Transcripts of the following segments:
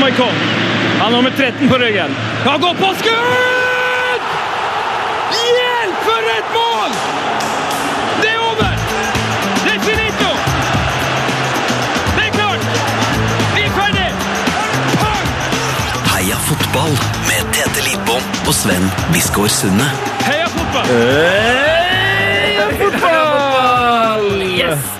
Stoikov. Han har nummer 13 på ryggen. Han går på skudd! Hjelp, for et mål! Det er over! Det er finito! Det er klart! Vi er ferdig! Pang! Heia fotball med Tete Lidbom og Sven Biskår Sunde. Heia fotball! Heia fotball! Yes!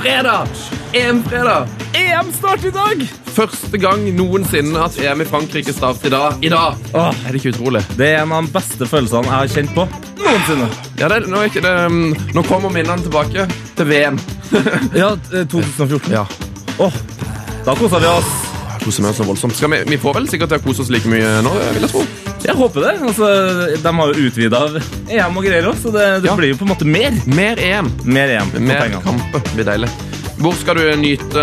Fredag! EM-fredag. EM start i dag! Første gang noensinne at EM i Frankrike starter i dag. I dag! Åh, Er det ikke utrolig? det er en av de beste følelsene jeg har kjent på noensinne. Ja, det, nå, er ikke det, um, nå kommer minnene tilbake til VM. Ja, eh, 2014. Ja, Åh, da kosa vi oss. jeg koser meg så voldsomt. Skal vi, vi får vel sikkert til å kose oss like mye nå, vil jeg tro. Jeg håper det. Altså, de har jo utvida EM og greier òg, så det, det Ja. blir jo på en måte mer. Mer EM, Mer EM på mer pengene. kamper. Det blir deilig. Hvor skal du nyte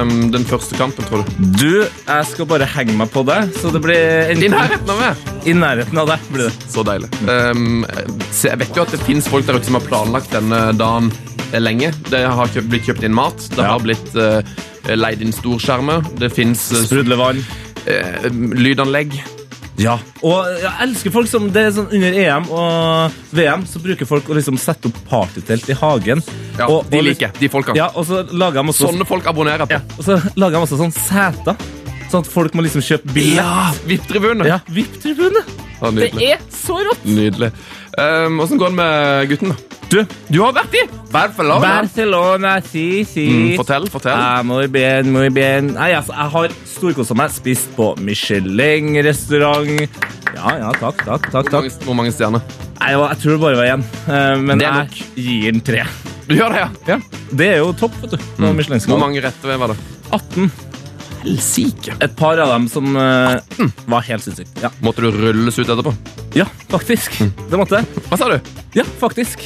um, den første kampen, tror du? Du, jeg skal bare henge meg på deg, så det blir I enten nærheten av meg! i nærheten av deg. blir det. Så deilig. Um, se, jeg vet jo at det fins folk der ute som har planlagt denne dagen eh, lenge. Det har kjøpt, blitt kjøpt inn mat. Det Ja. har blitt uh, leid inn storskjermer. Det fins Sprudlevann. lydanlegg. Ja. Og jeg elsker folk som det er sånn Under EM og VM så bruker folk å liksom sette opp partytelt i hagen. Ja, og, de og liksom- liker Sånn jeg, de folka. Ja, og så lager de også, Sånne folk abonnerer jeg ja, på. og så lager de også sånn seter, sånn at folk må liksom kjøpe billett. VIP-tribune! Ja, VIP-tribune! Ja, Det nydelig. er så rått! nydelig. Um, Åssen går det med gutten? da? Du, Du har vært i Barcelona. Barcelona, si, si. Mm, fortell, fortell. Ah, muy bien, muy bien. Nei, altså, jeg har storkosa meg. Spist på Michelin-restaurant. Ja, ja, takk, takk, takk. Hvor takk. mange, hvor mange stjerner? Nei, jeg tror det bare var én, eh, men Det er jeg gir den tre. Du gjør det, ja? Det er jo topp, vet du. På Michelin-skala. Mm. Hvor mange rette var det? 18. Helsike! Et par av dem som eh, var helt sinnssyke. Ja. Måtte du rulles ut etterpå? ja, faktisk. Det måtte jeg. Hva sa du? Ja, faktisk.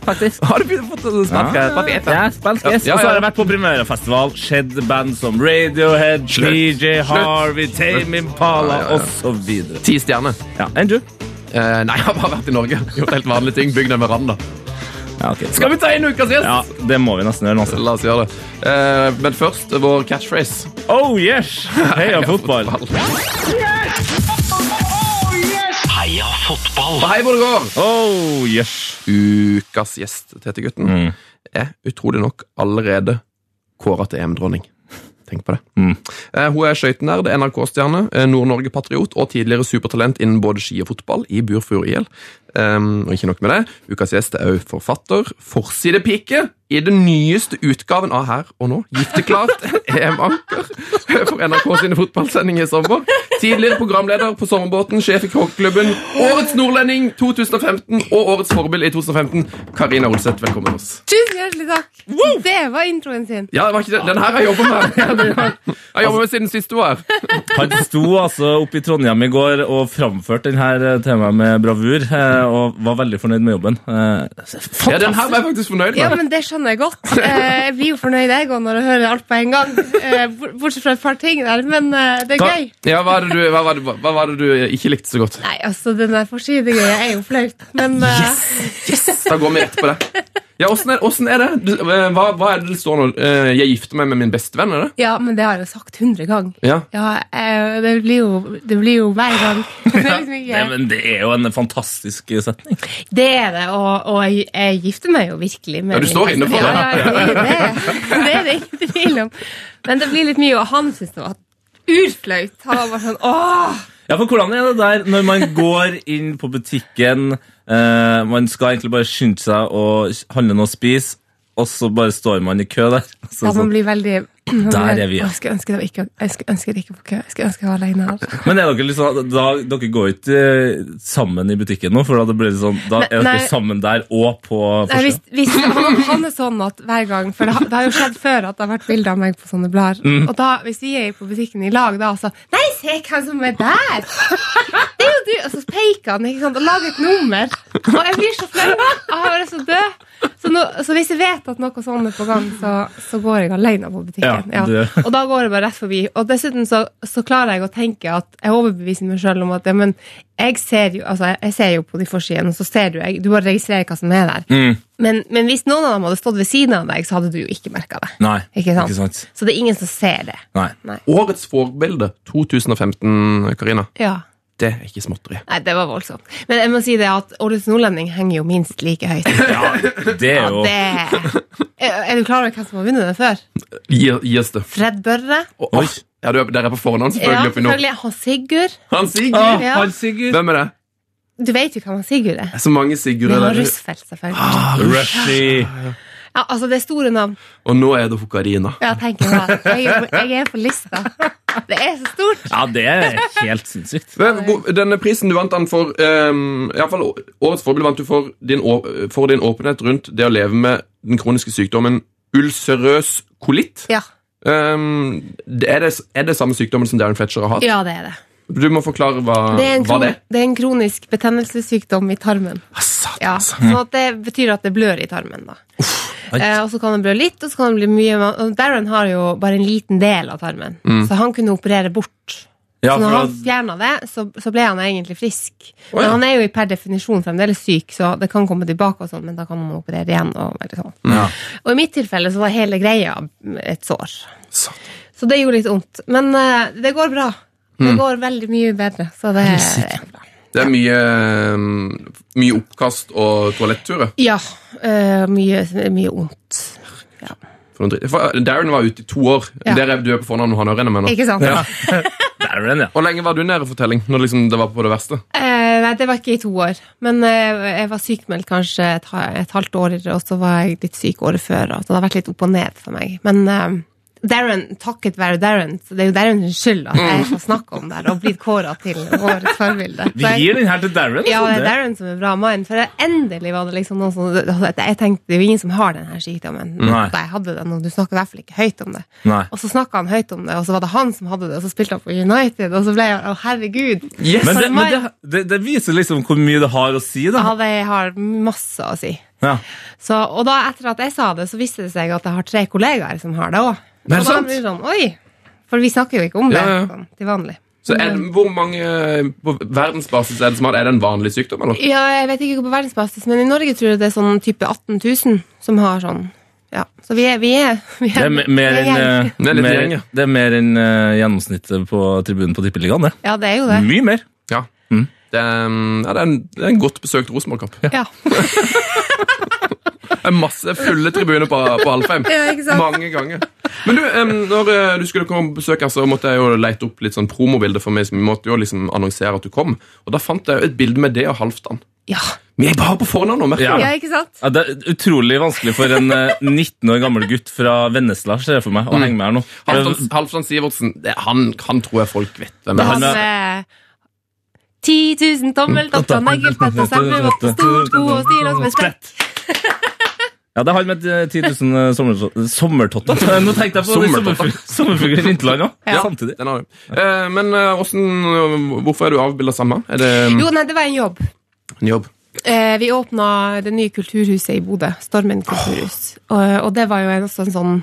Faktisk. Har du begynt å få snakke? Ja, Papir, ja, spansk Ja, yes. ja, Og så har ja. jeg vært på primærfestival. Skjedd band som Radiohead, Slutt. DJ Slutt. Harvey, Tame Impala Ja, ja, ja. osv. Ti stjerner. Ja, enn du? Eh, nei, jeg har bare vært i Norge. Gjort helt vanlige ting. Bygd en veranda. Ja, ok. Skal vi ta inn ukas gjest? ja, det må vi nesten gjøre nå. altså. La oss gjøre det. Eh, men først vår catchphrase. Oh yes! Heia fotball. Heia fotball. Og hei hvor det går! Oh yes. Ukas gjest, Tete Gutten, er utrolig nok allerede kåra til EM-dronning. Tenk på det. Eh, hun er skøytenerd, NRK-stjerne, eh, Nord-Norge-patriot og tidligere supertalent innen både ski og fotball i Burfjord IL. Um, og ikke nok med det, ukas gjest er òg forfatter, forsidepike i den nyeste utgaven av Her og nå, gifteklart EM-anker for NRK sine fotballsendinger i sommer. Tidligere programleder på Sommerbåten, sjef i Kråkeklubben, Årets nordlending 2015 og Årets forbilde i 2015, Karina Olseth. Velkommen til oss. Tusen hjertelig takk. Det var introen sin. Ja, det var ikke det. Den her har jeg jobber med. Jeg jobber med siden sist du var her. Han sto altså oppe i Trondheim i går og framførte denne temaet med bravur, eh, og var veldig fornøyd med jobben. Eh, Ja, den her var jeg faktisk fornøyd Ja, med. men Det skjønner jeg godt. Eh, Jeg blir jo fornøyd jeg òg når jeg hører alt på en gang. Eh, bort- Bortsett fra et par ting der, men eh, det er Hva- gøy. Ja, hva, var det du, hva, var det, hva var det du ikke likte så godt? Nei, altså, den der forsidegreia er jo flaut, men eh, Da går vi rett på det. Ja, Åssen er, åssen er det? Du, eh, hva, hva er det det står nå? Eh, Jeg gifter meg med min bestevenn, er det? Ja, men det har jeg jo sagt hundre ganger. Ja. Ja, eh, det blir jo, det blir jo hver gang. Det er, liksom Nei, ikke, men det er jo en fantastisk setning. det, er det, og, og jeg, jeg gifter meg jo virkelig med Ja, du min står beste- inne for det. Ja, ja, det, det, det er det ingen tvil om. Men det blir litt mye, og han syntes det var urflaut. Han var bare sånn åh! Ja, for hvordan er det der når man går inn på butikken, eh, man skal egentlig bare skynde seg å handle noe å spise, og så bare står man i kø der. Så, Ja, man sånn. blir veldig Der er vi, ja. Å, Jeg skulle ønske det var ikke, jeg skulle ønske det ikke var kø. Jeg skulle ønske jeg var alene altså. her. Men er dere liksom, da, dere går jo ikke eh, sammen i butikken nå, for da, blir det sånn, da er Nei, dere nei. sammen der og på Nei, hvis, forskjell. hvis han, han er sånn at hver gang For det, har- det har jo skjedd før at det har vært bilder av meg på sånne blader. Mm. Og da, hvis vi er på butikken i lag, da så Nei, se hvem som er der! Det er jo du! Og så peker han ikke sant, og lager et nummer. Og jeg blir så flau. Og jeg er så død. Så, nå, så hvis jeg vet at noe sånt er på gang, så, så går jeg alene på butikken. Ja, det- Og da går jeg bare rett forbi. Og dessuten så, så klarer jeg å tenke at jeg overbeviser meg sjøl om at ja, men jeg ser jo, altså, jeg- jeg ser jo på de forsidene, og så ser du jeg, Du bare registrerer hva som er der. Men, men hvis noen av dem hadde stått ved siden av deg, så hadde du jo ikke merka det. Nei, Ikke sant? Så det er ingen som ser det. Nei. Årets forbilde 2015, Karina. Ja. Det er ikke småtteri. Nei, det var voldsomt. Men jeg må si det at Årets nordlending henger jo minst like høyt. Det er Ja, jo det. Er, er du klar over hvem som har vunnet den før? Gi, gi oss det. Fred Børre. Og, åh, ja, du er, dere er på forhånd, Ja, selvfølgelig. oppi nå. selvfølgelig. Han Sigurd. Han Sigurd! Å, Ja. han Sigurd. Hvem er det? Du vet jo hvem han Sigurd er. Det er Så mange Sigurd Det var der. Roosevelt, selvfølgelig. Rushy. Ja, altså, det er store navn. Og nå er det hun Karina. Ja, tenk jeg bare. Jeg er, på, jeg er på lista. Det er så stort. Ja, det er helt sinnssykt. Hvem- hvor- Denne prisen du vant den for um, i alle fall å- Årets forbilde vant du for din, å- for din åpenhet rundt det å leve med den kroniske sykdommen ulcerøs kolitt. Ja, Ehm, det er, det, er det samme sykdommen som Darren Fletcher har hatt? ja det er det. Du må forklare hva Det er en, hva kron, det er. det er en kronisk betennelsessykdom i tarmen. Ah, satan, Ja, altså. sånn at Det betyr at det blør i tarmen. da. Eh, og så kan det blø litt, og så kan det bli mye og Darren har jo bare en liten del av tarmen, Mm. så han kunne operere bort. Ja, Så når for han da- fjerna det, så, så ble han egentlig frisk. Å, ja. Men han er jo i per definisjon fremdeles syk, så det kan komme tilbake, og sånn, men da kan man operere igjen. Og, veldig sånn. ja. og i mitt tilfelle så var hele greia et sår. Satan. Så det gjorde litt vondt. Men eh, det går bra. Mm. Det går veldig mye bedre. Så det er bra. Det er mye, ehm, mye oppkast og toaletturer. Ja. eh, mye, mye vondt. Ja. For noe dritt. For eh, Darren var ute i to år. Ja. Der er du er på fornavn, og han hører henne med nå. Ikke sant? Der er den, ja. Hvor lenge var du nede i fortelling? Når liksom det var på det verste? Eh, nei, det var ikke i to år. Men eh, jeg var sykmeldt kanskje et, ha- et halvt år, og så var jeg litt syk året før. Og så det har vært litt opp og ned for meg. Men eh, Darren, takket være Darren, så det er jo Darren sin skyld at jeg Mm. får snakke om det her og blitt kåra til årets forbilde. Så Vi jeg- gir den her til Darren. ja, altså, det er Darren som er bra mann. For jeg- endelig var det liksom noen som altså, Jeg tenkte det er jo ingen som har denne sykdommen. Nei. Da jeg hadde den, og du snakker i hvert fall ikke høyt om det. Nei. Og så snakka han høyt om det, og så var det han som hadde det, og så spilte han for United, og så ble jeg Å, herregud. Yes! Men, det, For men meg- det, det, det viser liksom hvor mye det har å si, da. Ja, det har masse å si. Ja. Så, og da etter at jeg sa det, så viste det seg at jeg har tre kollegaer som har det òg. Og Er det da sant? blir det sånn, oi! For vi snakker jo ikke om det Ja, ja. Sånn, til vanlig. Så er det, hvor mange på verdensbasis er det som har det? Er det en vanlig sykdom, eller? Ja, jeg vet ikke på verdensbasis, men i Norge tror jeg det er sånn type 18 000 som har sånn. Ja, Så vi er, vi er, vi Det er, er me- mer vi er enn gjeng. eh, Det er litt mer- gjeng, ja. det er mer enn, eh, gjennomsnittet på tribunen på Tippeligaen, det. Ja, det er jo det. Mye mer. Ja. Det, er, mm, ja, det, er en, det er en godt besøkt Rosenborg-kamp. Det Ja. er masse fulle tribuner på, på Alfheim. Ja, ikke sant? Mange ganger. Men du, em, når eh, du skulle komme på besøk, her, så måtte jeg jo lete opp litt sånn promobilder for meg. så Vi måtte jo liksom annonsere at du kom. Og da fant jeg jo et bilde med det og Halvdan. Ja. Vi er bare på fornavn nå, merker Ja. du? ja, ikke sant? Ja, det er utrolig vanskelig for en eh, 19 år gammel gutt fra Vennesla ser jeg for meg, å henge med her nå. Halvdan, Halvdan Sivertsen, det, han, han tror jeg folk vet hvem Det er. han Han med- med 10 000 tommeltotter, Mm. neglepetter, semmelvotter, storsko og stillongs med spett. Ja, det er han med eh, 10 000 sommer, sommertotter. Nå tenkte jeg på de Sommertotter. sommerfugl- sommerfugler i Vinterland òg. Ja. Samtidig. Den har du. Eh, men eh, hvordan, hvorfor er du avbilda sammen? Er det mm, Jo, nei, det var en jobb. en jobb? Eh, vi åpna det nye kulturhuset i Bodø, Stormen kulturhus. Og, og det var jo en, også en sånn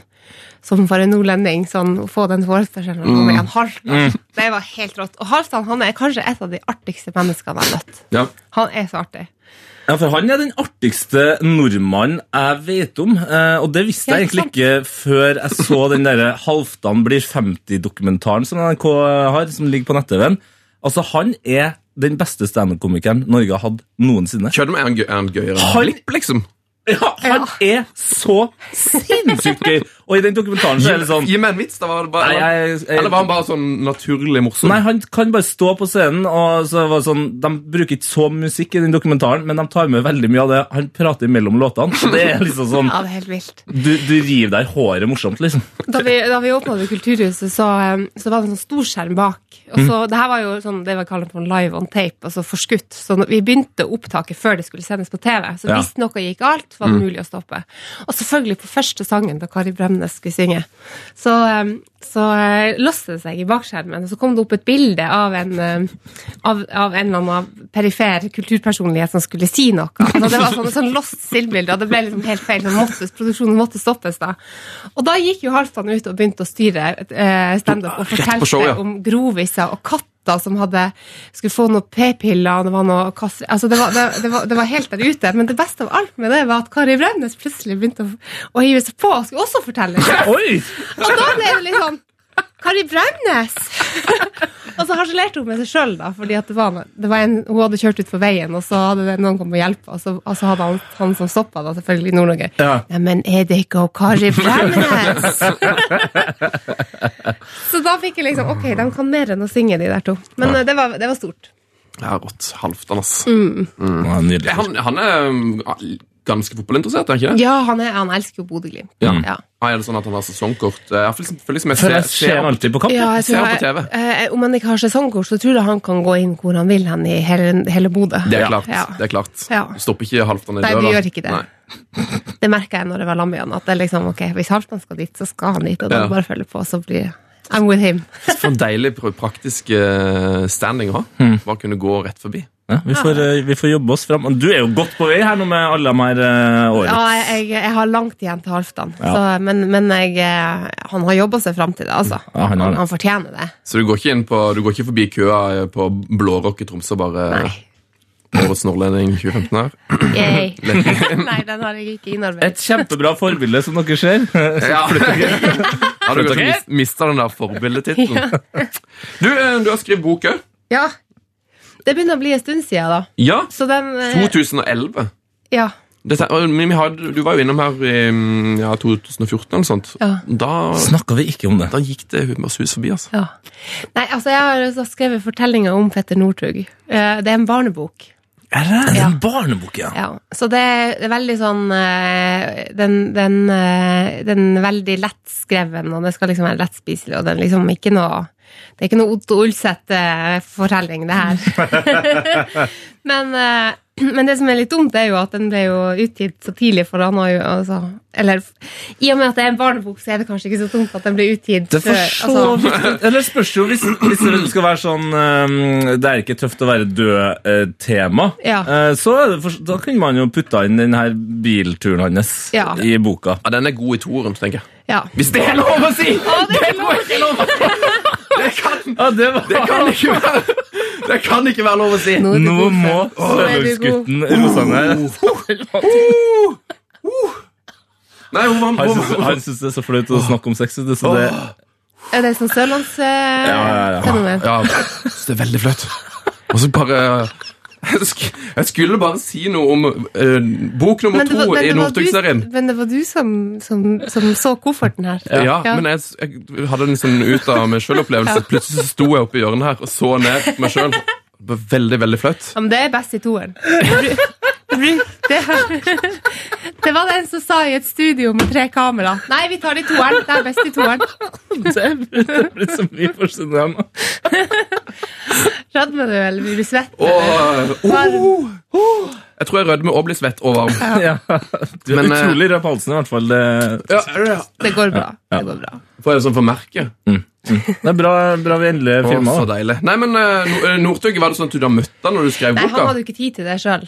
som for en nordlending, sånn, å få den forespørselen om å komme igjen. Halvdan. Det var helt rått. Og Halvdan han er kanskje et av de artigste menneskene jeg har møtt. Ja. Han er så artig. Ja, for han er den artigste nordmannen jeg vet om, eh, og det visste jeg Ja, ikke egentlig ikke før jeg så den derre Halvdan blir 50-dokumentaren som NRK har, som ligger på nett-TV-en. Altså, han er den beste standup-komikeren Norge har hatt noensinne. Kødder med er han gøy- er han gøyere enn Han- Blipp, liksom? Ja, han er så sinnssykt gøy! Og i den dokumentaren så er det sånn Gi meg en vits, da. Var det bare, Nei, jeg- jeg- eller var han bare sånn naturlig morsom? Nei, han kan bare stå på scenen, og så var det sånn, de bruker ikke så musikk i den dokumentaren, men de tar med veldig mye av det han prater mellom låtene. og Det er liksom sånn, Ja, det er helt vilt. du, du river deg i håret morsomt, liksom. Da vi, da vi åpna det kulturhuset, så, eh, så var det en sånn storskjerm bak. Og så, Det her var jo sånn, det vi kaller for live on tape, altså forskutt. Så når vi begynte opptaket før det skulle sendes på TV. Så Ja. hvis noe gikk galt, Mm. så var det mulig å stoppe. Og selvfølgelig på første sangen da Kari Bremnes skulle synge, så, eh, så eh, låste det seg i bakskjermen, og så kom det opp et bilde av en, eh, av, av en eller annen perifer kulturpersonlighet som skulle si noe. Og det var sånn, sånn lost stillbilde, og det ble liksom helt feil. Så måtte, produksjonen måtte stoppes da. Og da gikk jo Halvdan ut og begynte å styre eh, standup og på fortalte show, ja. om groviser og katter som hadde, skulle få noen p-piller og det var noe kass- altså det, var, det, det, var, det var helt der ute. Men det beste av alt med det var at Kari Bremnes plutselig begynte å, å hive seg på og skulle også fortelle. Oi! Og da ble det litt sånn Kari Bremnes! og så harselerte hun med seg sjøl, da, fordi at det var, det var en, hun hadde kjørt utfor veien, og så hadde det, noen kommet og hjulpet, og så, og så hadde han, han som stoppa, da, selvfølgelig i Nord-Norge Ja. Neimen, er det ikke hun Kari Bremnes? så da fikk jeg liksom Ok, de kan mer enn å synge, de der to. Men eh, det, var, det var stort. Ja, rått. Halvdan, ass. Mm. Ja, nydelig. Han, han er um, ganske fotballinteressert, er han ikke det? Ja, han, er, han elsker jo Bodø-Glimt. Ja. Ja. Ah, er det sånn at han har sesongkort? Eh, Jeg føler liksom- føler liksom jeg For ser, jeg ser han ser alltid på kamp. Ja, jeg Ser tror han på jeg- eh, om han ikke har sesongkort, så tror jeg han kan gå inn hvor han vil hen i hele, hele Bodø. det er klart. Ja. det er klart. Ja. Du stopper ikke Halvdan i Nei, døra. du gjør ikke det. Nei. Det merka jeg når jeg var lam igjen. At det er liksom, ok, Hvis Halvdan skal dit, så skal han dit. Og da Ja. bare følger på, så blir I'm with him. For en deilig pr- praktisk eh, standing å ha. Mm. Bare kunne gå rett forbi. Ja, vi, får, eh, vi får jobbe oss fram. Men Du er jo godt på vei her nå med alle de her eh, Ja, årene. jeg, jeg har langt igjen til Halvdan, Ja. så- men, men jeg, eh, han har jobba seg fram til det, altså. Ja, han har det. han fortjener det. Så du går ikke, inn på, du går ikke forbi køa eh, på Blårock i Tromsø og bare Nei. Årets nordlending 2015 her? Yay. Nei, den har jeg ikke innarbeidet. Et kjempebra forbilde, som dere ser. Ja, ja du Slutt, ok? okay? mista den der forbildetittelen. Du, eh, du har skrevet bok òg. Ja. Det begynner å bli en stund siden, da. Ja. Så den eh, 2011. Ja. Dette, og vi, vi hadde, du var jo innom her i mm, ja, 2014 eller sånt. Ja. Da, Snakka vi ikke om det? da gikk det humørshus forbi, altså. Ja. Nei, altså, jeg har også skrevet fortellinger om Petter Northug. Eh, Det er en barnebok. Er det Ja. en barnebok, ja? Ja. Så det er veldig sånn eh, Den, den, eh, den er veldig lettskreven, og det skal liksom være lettspiselig, og den liksom ikke noe det er ikke noe Otto Ulseth-fortelling, det her. men, eh, men det som er litt dumt, det er jo at den ble jo utgitt så tidlig, for han har jo altså Eller i og med at det er en barnebok, så er det kanskje ikke så dumt at den ble utgitt Det før, altså. får så vidt Eller spørs jo hvis, hvis det skal være sånn ehm, Det er ikke tøft å være død-tema. Ja. eh, så er det for, da kunne man jo putta inn den her bilturen hans Ja. i boka. Ja, den er god i toeren, tenker jeg. ja. Hvis det er lov å si! Å, det er lov! Ja, det var... Det kan ikke være, det kan ikke være lov å si! Nå er du Nå god, må Fred. er du god. Sørlandsgutten Rosanne Nei, hun var, Han hun, syns- Han syns det er så flaut å snakke om sex. vet du, Så det, Er det sånn ja, ja. sørlandsfenomen? Ja, så det er veldig flaut. Og så bare jeg, sk jeg skulle bare si noe om eh, bok nummer Men det var- to i men det var du- Northug-serien. Men det var du som, som, som så kofferten her. Ja, men jeg, jeg hadde en sånn ut av meg sjøl-opplevelse. Plutselig så sto jeg oppe i hjørnet her og så ned på meg sjøl. Veldig, veldig flaut. Ja, men det er best i toeren. Du- du- Det, det var den som sa i et studio med tre kamera Nei, vi tar det i toeren. Det er best i toeren. det blir så mye for sin del nå. Rødmer du, eller blir du svett? Og, Varm. oh, jeg tror jeg rødmer og blir svett og varm. Ja. Du er Men, eh, utrolig rød på halsen, i hvert fall. Det, Ja, er det? Det går bra. Det går bra. Får jeg sånn formerke? det er bra, bra vi endelig Å, filma. så deilig. Nei, men eh, Nor- eh, Northug, var det sånn at du da møtte han når du skrev Nei, han boka? hadde jo ikke tid til det sjøl.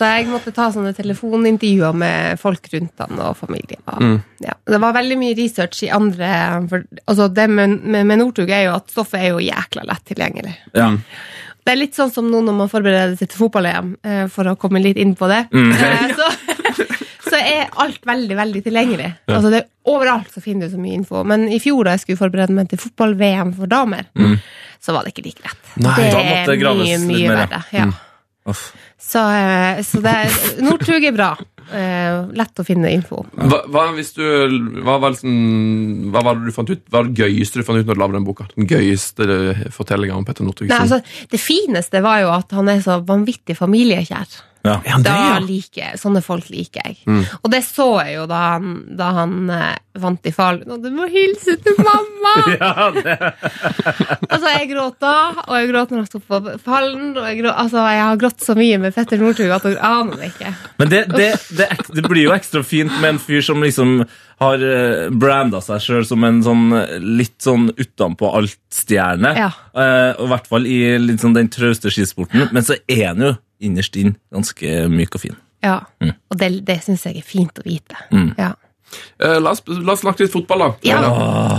Så jeg måtte ta sånne telefonintervjuer med folk rundt han og familie. Og, ja. Det var veldig mye research i andre for, altså Det med, med, med Northug er jo at stoffet er jo jækla lett tilgjengelig. Ja. Det er litt sånn som nå når man forbereder seg til fotball-EM, eh, for å komme litt inn på det. Eh, Så, så er alt veldig, veldig tilgjengelig. Altså det er Overalt så finner du så mye info. Men i fjor da jeg skulle forberede meg til fotball-VM for damer, så var det ikke like lett. Nei, det da måtte det graves litt mer, Mm. ja. verre. Ja. Uff. Så, eh, så det er- Northug er bra. Eh, Lett å finne info. om. Hva, hva, hvis du, hva, var liksom, hva var det du fant ut Hva var det gøyeste du fant ut når du lagde den boka? Den gøyeste fortellingen om Petter Northug? Nei, altså, det fineste var jo at han er så vanvittig familiekjær. Ja. Er han det, Da ja? Mm. liker jeg, Sånne folk liker jeg. Og det så jeg jo da han, da han eh, vant i Falun. Og du må hilse til mamma! altså, jeg gråt da, og jeg gråt når han sto på Falun. Og jeg, grå, altså, jeg har grått så mye med Petter Northug at du aner det ikke. Men det, det, det, er ek- det blir jo ekstra fint med en fyr som liksom har eh, branda seg sjøl som en sånn eh, litt sånn utenpå alt-stjerne. Ja. Eh, og I hvert fall i litt sånn den trauste skisporten. Men så er han jo innerst inn ganske myk og fin. Ja. Mm. Og det, det syns jeg er fint å vite. Ja. Eh, la, oss, la oss snakke litt fotball, da. Ja.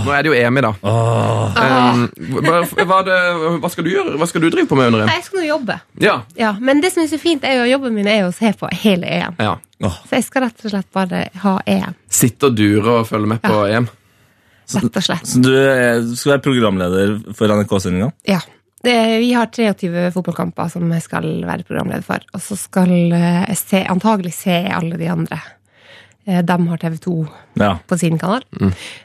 Nå er det jo EM i dag. Eh, hva, hva, er det, hva skal du gjøre? Hva skal du drive på med under EM? Nei, jeg skal nå jobbe. Ja. Ja, Men det som er så fint, er jo jobben min er jo å se på hele EM. ja. Så jeg skal rett og slett bare ha EM. Sitte og dure og følge med på EM. Rett og slett. Så du eh, skal være programleder for NRK-sendinga? Ja. Det- Vi har 23 fotballkamper som jeg skal være programleder for. Og så skal eh, jeg se, antagelig se alle de andre. Eh, De har TV 2 Ja. på sin kanal.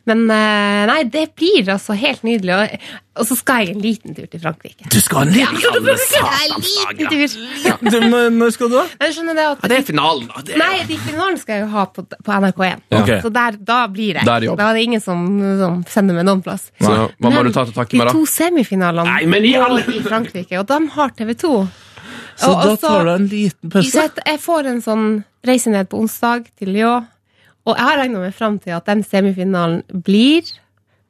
Men eh, nei, det blir altså helt nydelig. Og, og så skal jeg en liten tur til Frankrike. Du skal ha en liten En liten tur! Når skal du, da? Men skjønner det Ja, at det er finalen, da. Det er... Nei, de finalen skal jeg jo ha på, på NRK1. Ok. Så der, da blir jeg. Da er det jobb. da er det ingen som, som sender meg noen plass. Så hva må Men du ta til takke med, De da? to semifinalene Nei, men i går alle- i Frankrike, og de har TV 2. Så da tar du en liten pause? Jeg får en sånn reise ned på onsdag til Lyon, og jeg har regna meg fram til at den semifinalen blir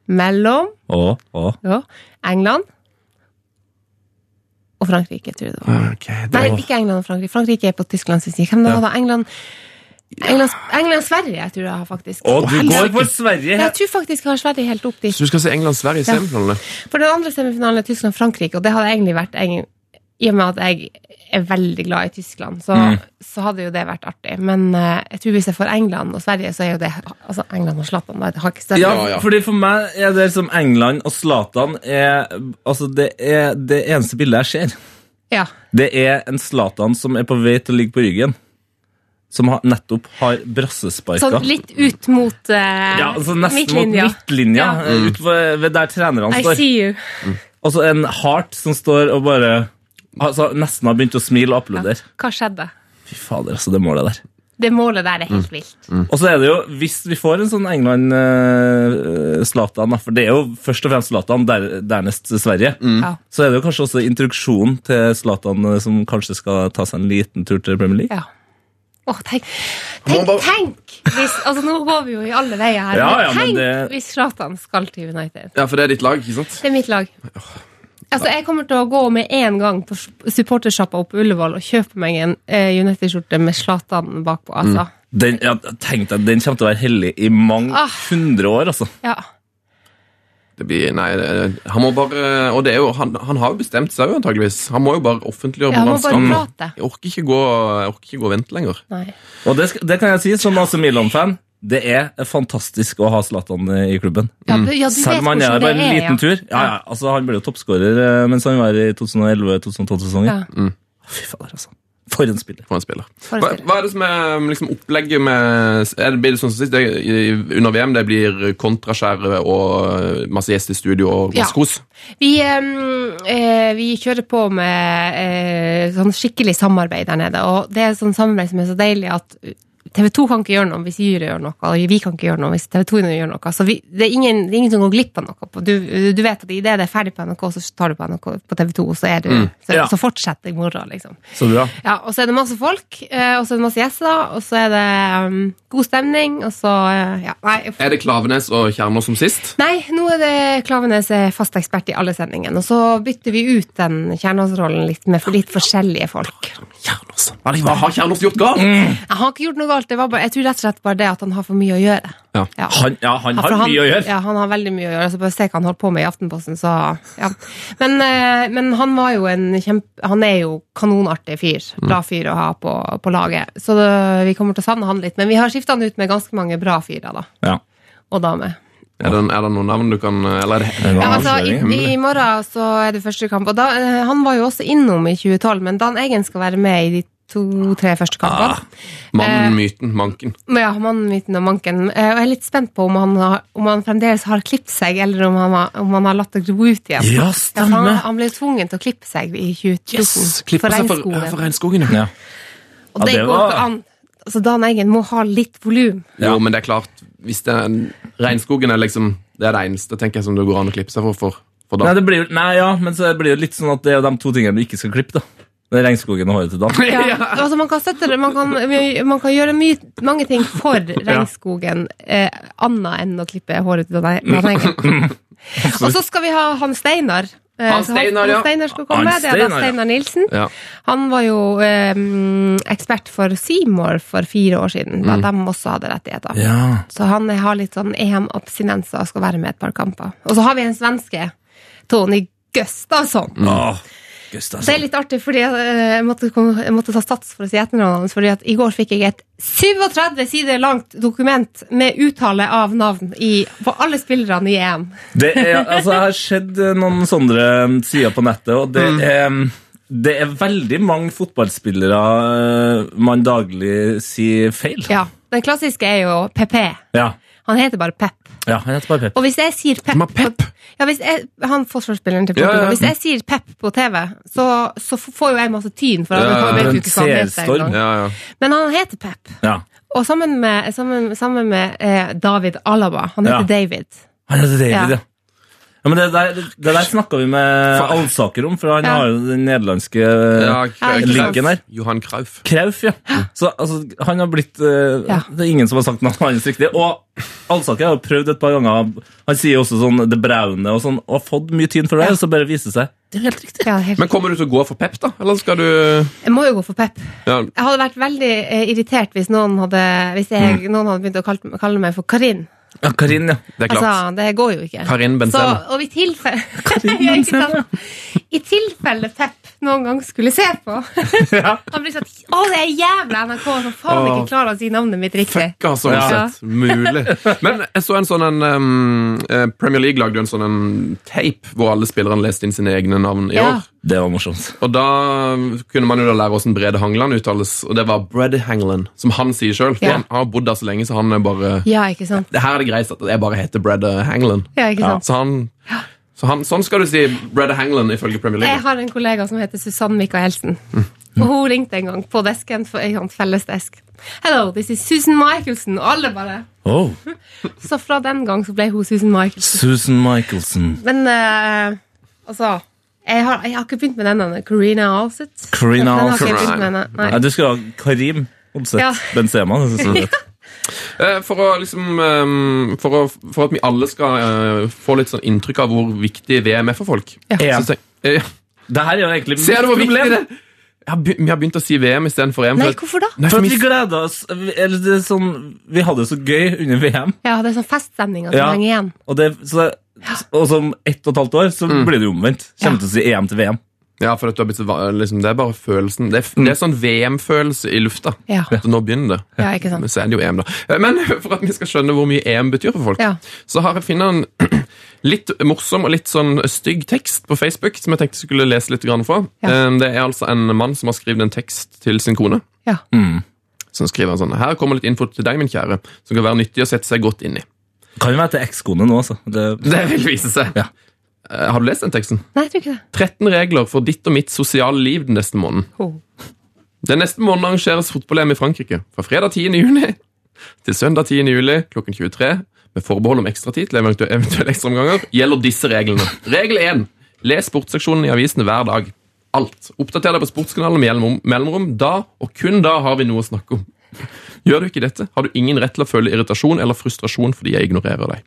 mellom Å, å. ja, England og Frankrike, tror jeg det var. Ok, det... Nei, ikke England og Frankrike. Frankrike er på Tysklands side. Hvem da var det? England, England, England og Sverige, jeg tror jeg har faktisk. Å, du går for Jeg Sverige! tror faktisk jeg har Sverige helt opp dit. Så du skal se England-Sverige i Ja. semifinalene? For den andre semifinalen er Tyskland-Frankrike, og det hadde egentlig vært eng- I og med at jeg er veldig glad i Tyskland, så, Mm. så hadde jo det vært artig. Men eh, jeg tror hvis jeg får England og Sverige, så er jo det Altså, England og Zlatan, da. Det har ikke større Ja, Ja, ja. fordi For meg er det som England og Zlatan er Altså, det er det eneste bildet jeg ser. Ja. Det er en Zlatan som er på vei til å ligge på ryggen. Som har, nettopp har brassesparka. Sånn litt ut mot eh, ja, altså nesten midtlinja. mot midtlinja, Ja. eh, ut ved, ved der trenerne I står. see you. Og så en Heart som står og bare altså, nesten har begynt å smile og applaudere. Hva skjedde? Fy fader, altså, det målet der. Det målet der er Mm. helt vilt. Og så er det jo, hvis vi får en sånn England-Zlatan, for det er jo først og fremst Zlatan, der, dernest Sverige, Ja. så er det jo kanskje også introduksjonen til Zlatan eh, som kanskje skal ta seg en liten tur til Premier League. Ja. Åh, tenk, tenk, bare- tenk hvis, altså Nå går vi jo i alle veier her. Ja, men ja, men tenk det- hvis Zlatan skal til United. Ja, for det er ditt lag, ikke sant? Det er mitt lag. Altså, Jeg kommer til å gå med en gang på supportersjappa oppe på Ullevål og kjøpe meg en eh, United-skjorte med Zlatan bakpå. Mm. altså. Den, ja, tenk deg, den kommer til å være hellig i mange Ah. hundre år, altså. Ja. Det blir, nei, det- han må bare Og det er jo, han, han har jo bestemt seg, jo antageligvis. Han må jo bare offentliggjøre Ja, han hvor må han bare skal. prate. Jeg orker ikke gå, jeg orker ikke gå og vente lenger. Nei. Og det, skal- det kan jeg si som AC Milan-fan. Det er fantastisk å ha Zlatan eh, i klubben. Ja, du, ja, du Selv vet om han hvordan er det bare en liten ja. tur. Ja, ja, altså Han ble jo toppskårer eh, mens han var i 2011-2012-sesongen. Ja. Fy fader, altså. For en spiller. For en spiller. en Hva, spiller. hva er det som er liksom, opplegget med er det, Blir det sånn som sist det, i, under VM? Det blir kontraskjære og uh, masse gjester i studio og Ja. masse kos? Vi, ehm, eh, vi kjører på med eh, sånn skikkelig samarbeid der nede, og det er sånn samarbeid som er så deilig at TV 2 kan ikke gjøre noe hvis Jyre gjør noe, og vi kan ikke gjøre noe hvis TV 2 gjør noe. Så vi, det, er ingen, det er ingen som går glipp av noe. på- Du, du vet at idet det er ferdig på NRK, så tar du på NRK på TV 2, og så, er du, så, Ja. så fortsetter moroa, liksom. Så bra. Ja, og så er det masse folk, eh, og så er det masse gjester, og så er det ehm, god stemning, og så eh, Ja, nei. jeg- Er det Klavenes og Kjerner som sist? Nei, nå er det Klavenes er fast ekspert i alle sendingene. Og så bytter vi ut den kjernåsrollen litt med for litt forskjellige folk. Kjernås. Hva er det- Mm. hva har Kjernås gjort galt? Jeg har ikke gjort noe galt, det var bare, jeg tror rett og slett bare det at han har for mye å gjøre. Ja. Han, ja, han har for mye å gjøre. Ja, han har veldig mye å gjøre. Så bare se hva han holdt på med i Aftenposten, så ja. Men, eh, men han var jo en kjempe... Han er jo kanonartig fyr. Mm. Bra fyr å ha på, på laget. Så det, vi kommer til å savne han litt. Men vi har skifta han ut med ganske mange bra fyrer, da. Ja. Og damer. Er, det, er det noen navn du kan Eller er det Ja, altså, i, I morgen så er det første kamp. Og da, eh, han var jo også innom i 2012, men Dan Eggen skal være med i de to-tre første kampene. mannen, myten, manken? Men ja, mannen myten og manken. Eh, Og jeg er litt spent på om han, har, om han fremdeles har klippet seg, eller om han har, om han har latt det gro ut igjen. Ja, Ja, for han, stemmer. han ble tvungen til å klippe seg i 2014 Yes! Klipper seg for, regnskogen. for regnskogen, ja. Ja. Og det, det går var- ikke an. Altså, Dan Eggen må ha litt volum. Jo, men det er klart, hvis det er en, regnskogen er liksom, det er det eneste tenker jeg, som det går an å klippe seg for, for, for Nei, da. det blir, jo- nei, ja, men så blir det jo litt sånn at det er jo de to tingene du ikke skal klippe, da. Det er regnskogen og håret til Dan. Ja. Altså, man, kan sette, det- man, kan, man kan gjøre mye, mange ting for regnskogen, eh, annet enn å klippe håret til Dan Dan Eggen. Og så skal vi ha han Steinar. Eh, Han så Steinar, han, ja. Steinar skal Han komme. Det er Steinar, da ja. Steinar Nilsen. Ja. Han var jo eh, ekspert for Seymour for fire år siden, da de også hadde rettigheter. Mm. Ja. Så han har litt sånn EM-abstinenser og skal være med et par kamper. Og så har vi en svenske, Tony Gustavsson. Åh, altså. Så det er Gustavsson. litt artig, fordi jeg, eh, jeg, måtte, kom- jeg måtte ta sats for å si etternavnet hans. fordi at i går fikk jeg et 37 sider langt dokument med uttale av navn i, på alle spillerne i EM. Det er, altså, jeg har sett eh, noen sånne eh, sider på nettet, og det Mm. er, um, det er veldig mange fotballspillere eh, man daglig sier feil. Ja, Den klassiske er jo PP. Ja, Han heter bare Pep. ja han heter bare Pep. Og hvis jeg sier Pep, Men Pep? Ja, hvis jeg, Han forsvarsspilleren til Ja, ja. Portugal. Hvis jeg sier Pep på TV, så, så f- får jo jeg masse tyn. For Ja, ja, han vet ja. jo ikke hva han heter Seerstorm. engang. Ja, ja. Men han heter Pep. Ja. Og sammen med, sammen, sammen med eh, David Alaba. Han heter Ja. David. Han heter David, Ja. ja. Ja, men Det der, det der snakka vi med Faen. Alsaker om, for han Ja. har jo den nederlandske uh, Ja, Ja, Krauf. linken der. Johan Krauf. Krauf, ja. Så altså, han har blitt eh, Ja. Det er ingen som har sagt navnet hans riktig. Og Alsaker har jo prøvd et par ganger. Han sier jo også sånn det braune og sånn, og har fått mye tyn for det, Ja. og så bare viser det seg. Det er helt riktig. Ja, helt. Men kommer du til å gå for Pep, da? Eller skal du Jeg må jo gå for Pep. ja, Jeg hadde vært veldig eh, irritert hvis noen hadde, hvis jeg, Mm. noen hadde begynt å kalle, kalle meg for Karin. Ja, Karin, ja. Det er klart. Altså, det går jo ikke. Karin Benzema. Så, og i tilfelle Ja, ikke sant? I tilfelle Pep noen gang skulle se på Han blir sånn Å, det er jævla NRK som faen Åh. ikke klarer å si navnet mitt riktig. Fucka, sånn Ja. sett. Mulig. Men jeg så en sånn en um, eh, Premier League lagde jo en sånn en tape hvor alle spillerne leste inn sine egne navn i Ja. år. Det var morsomt. Og da kunne man jo da lære hvordan Brede Hangeland uttales, og det var Brede Hangeland, som han sier sjøl. Ja. Han har bodd der så lenge, så han er bare Ja, ikke sant? Det her er det greit at jeg bare heter Brede Hangeland. Ja, ikke sant? Så han, så han, sånn skal du si Brede Hangeland ifølge Premier Jeg League. har en kollega som heter Susanne Michaelsen. Mm. Og hun ringte en gang på desken for en sånn fellesdesk. Hello, this is Susan Michelsen. Og alle bare Oh, Så fra den gang så ble hun Susan Michelsen. Susan Michelson. Men eh, altså jeg har, jeg har ikke begynt med den ene. Karina Alseth. Carina Den har ikke jeg Alseth. begynt med ennå, nei. Nei, du skulle ha Karim Obseth Ja. Benzema. Det synes jeg er Eh, For, å liksom, eh, for, å, for at vi alle skal eh, få litt sånn inntrykk av hvor viktig VM er for folk. Ja. Så tenk, eh, Det her er jo egentlig Ser du hvor mitt viktig problem. det er? Jeg har begy- Vi har begynt å si VM istedenfor EM. Nei, for at- hvorfor da? Nei, For for at vi vi- gleda oss vi- eller det er sånn, Vi hadde det så gøy under VM, Ja, det er sånn feststemninger som Ja. henger igjen. og, det, så, og som ett og et halvt år så blir det jo omvendt. Kommer Ja. til å si EM til VM. ja, for at du har blitt så va- liksom, det er bare følelsen. Det er, det er sånn VM-følelse i lufta. Ja. Så nå begynner det. Ja, ikke sant? Men så er det jo EM, da. Eh, Men for at vi skal skjønne hvor mye EM betyr for folk, Ja. så har jeg funnet en litt morsom og litt sånn stygg tekst på Facebook som jeg tenkte jeg skulle lese litt grann fra. Ja. Eh, Det er altså en mann som har skrevet en tekst til sin kone. Ja. Mm. Så skriver han sånn Her kommer litt info til deg, min kjære, som kan være nyttig å sette seg godt inn i. Kan jo være til ekskone nå, altså. Det, Det vil vise seg. Ja. Eh, Har du lest den teksten? Nei, jeg tror ikke det. 13 regler for ditt og mitt sosiale liv den neste måneden. Oh. Den neste måneden arrangeres fotball-EM i Frankrike. Fra fredag 10. juni til søndag 10. juli klokken 23, med forbehold om ekstratid til eventu- eventuelle ekstraomganger, gjelder disse reglene. Regel 1. Les sportsseksjonen i avisene hver dag. Alt. Oppdater deg på sportskanalen med mellom- mellomrom. Da, og kun da, har vi noe å snakke om. Gjør du ikke dette, har du ingen rett til å føle irritasjon eller frustrasjon fordi jeg ignorerer deg.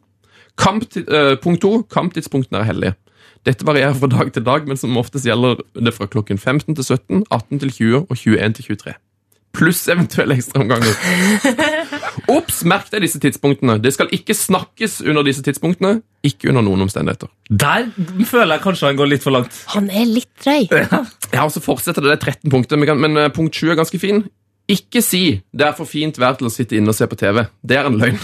Kamp, eh, punkt 2. Kamptidspunktene er hellige. Dette varierer fra dag til dag, men som oftest gjelder det fra klokken 15 til 17, 18 til 20 og 21 til 23. Pluss eventuelle ekstraomganger. Ops, merk deg disse tidspunktene. Det skal ikke snakkes under disse tidspunktene. Ikke under noen omstendigheter. der føler jeg kanskje han går litt for langt. Han er litt drøy. Ja, og så fortsetter det, det er 13 punkter, men, men eh, punkt 7 er ganske fin. Ikke si 'det er for fint vær til å sitte inne og se på TV'. Det er en løgn.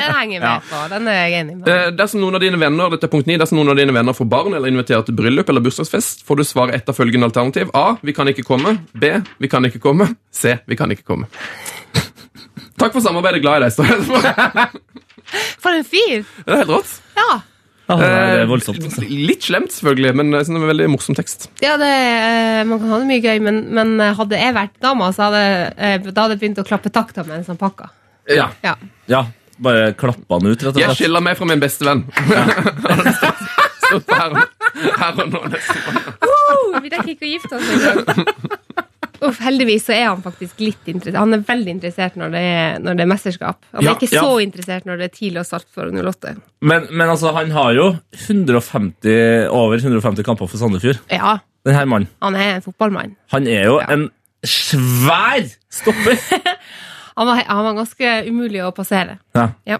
Den henger jeg med på. Den er jeg enig med. Eh, dersom noen av dine venner dette er punkt 9, dersom noen av dine venner får barn eller inviterer til bryllup eller bursdagsfest, får du svare etter følgende alternativ. A. Vi kan ikke komme. B. Vi kan ikke komme. C. Vi kan ikke komme. Takk for samarbeidet. Glad i deg. står det etterpå. For en fyr! Det er helt rått. Ja. Ja, det er Eh, voldsomt. altså. Litt slemt, selvfølgelig, men jeg synes det er en veldig morsom tekst. Ja, det, eh, man kan ha det mye gøy, men, men eh, hadde jeg vært dama, så hadde eh, da hadde jeg begynt å klappe takta med en sånn pakke. Ja. Ja. Ja, bare klappa han ut, rett og Jeg slett. skiller meg fra min beste venn. Stått her, her og nå, nesten. Uh, vi rekker ikke å gifte oss engang. Uff, heldigvis så er han faktisk litt interessert. Han er veldig interessert når det er, når det er mesterskap. Han er Ja, ikke ja. så interessert når det er TIL og Sarpsborg 08. Men, men altså, han har jo 150, over 150 kamper for Sandefjord. Ja, Denne mannen. han er en fotballmann. Han er jo Ja. en svær stopper! Han var, han var ganske umulig å passere. Ja. Ja.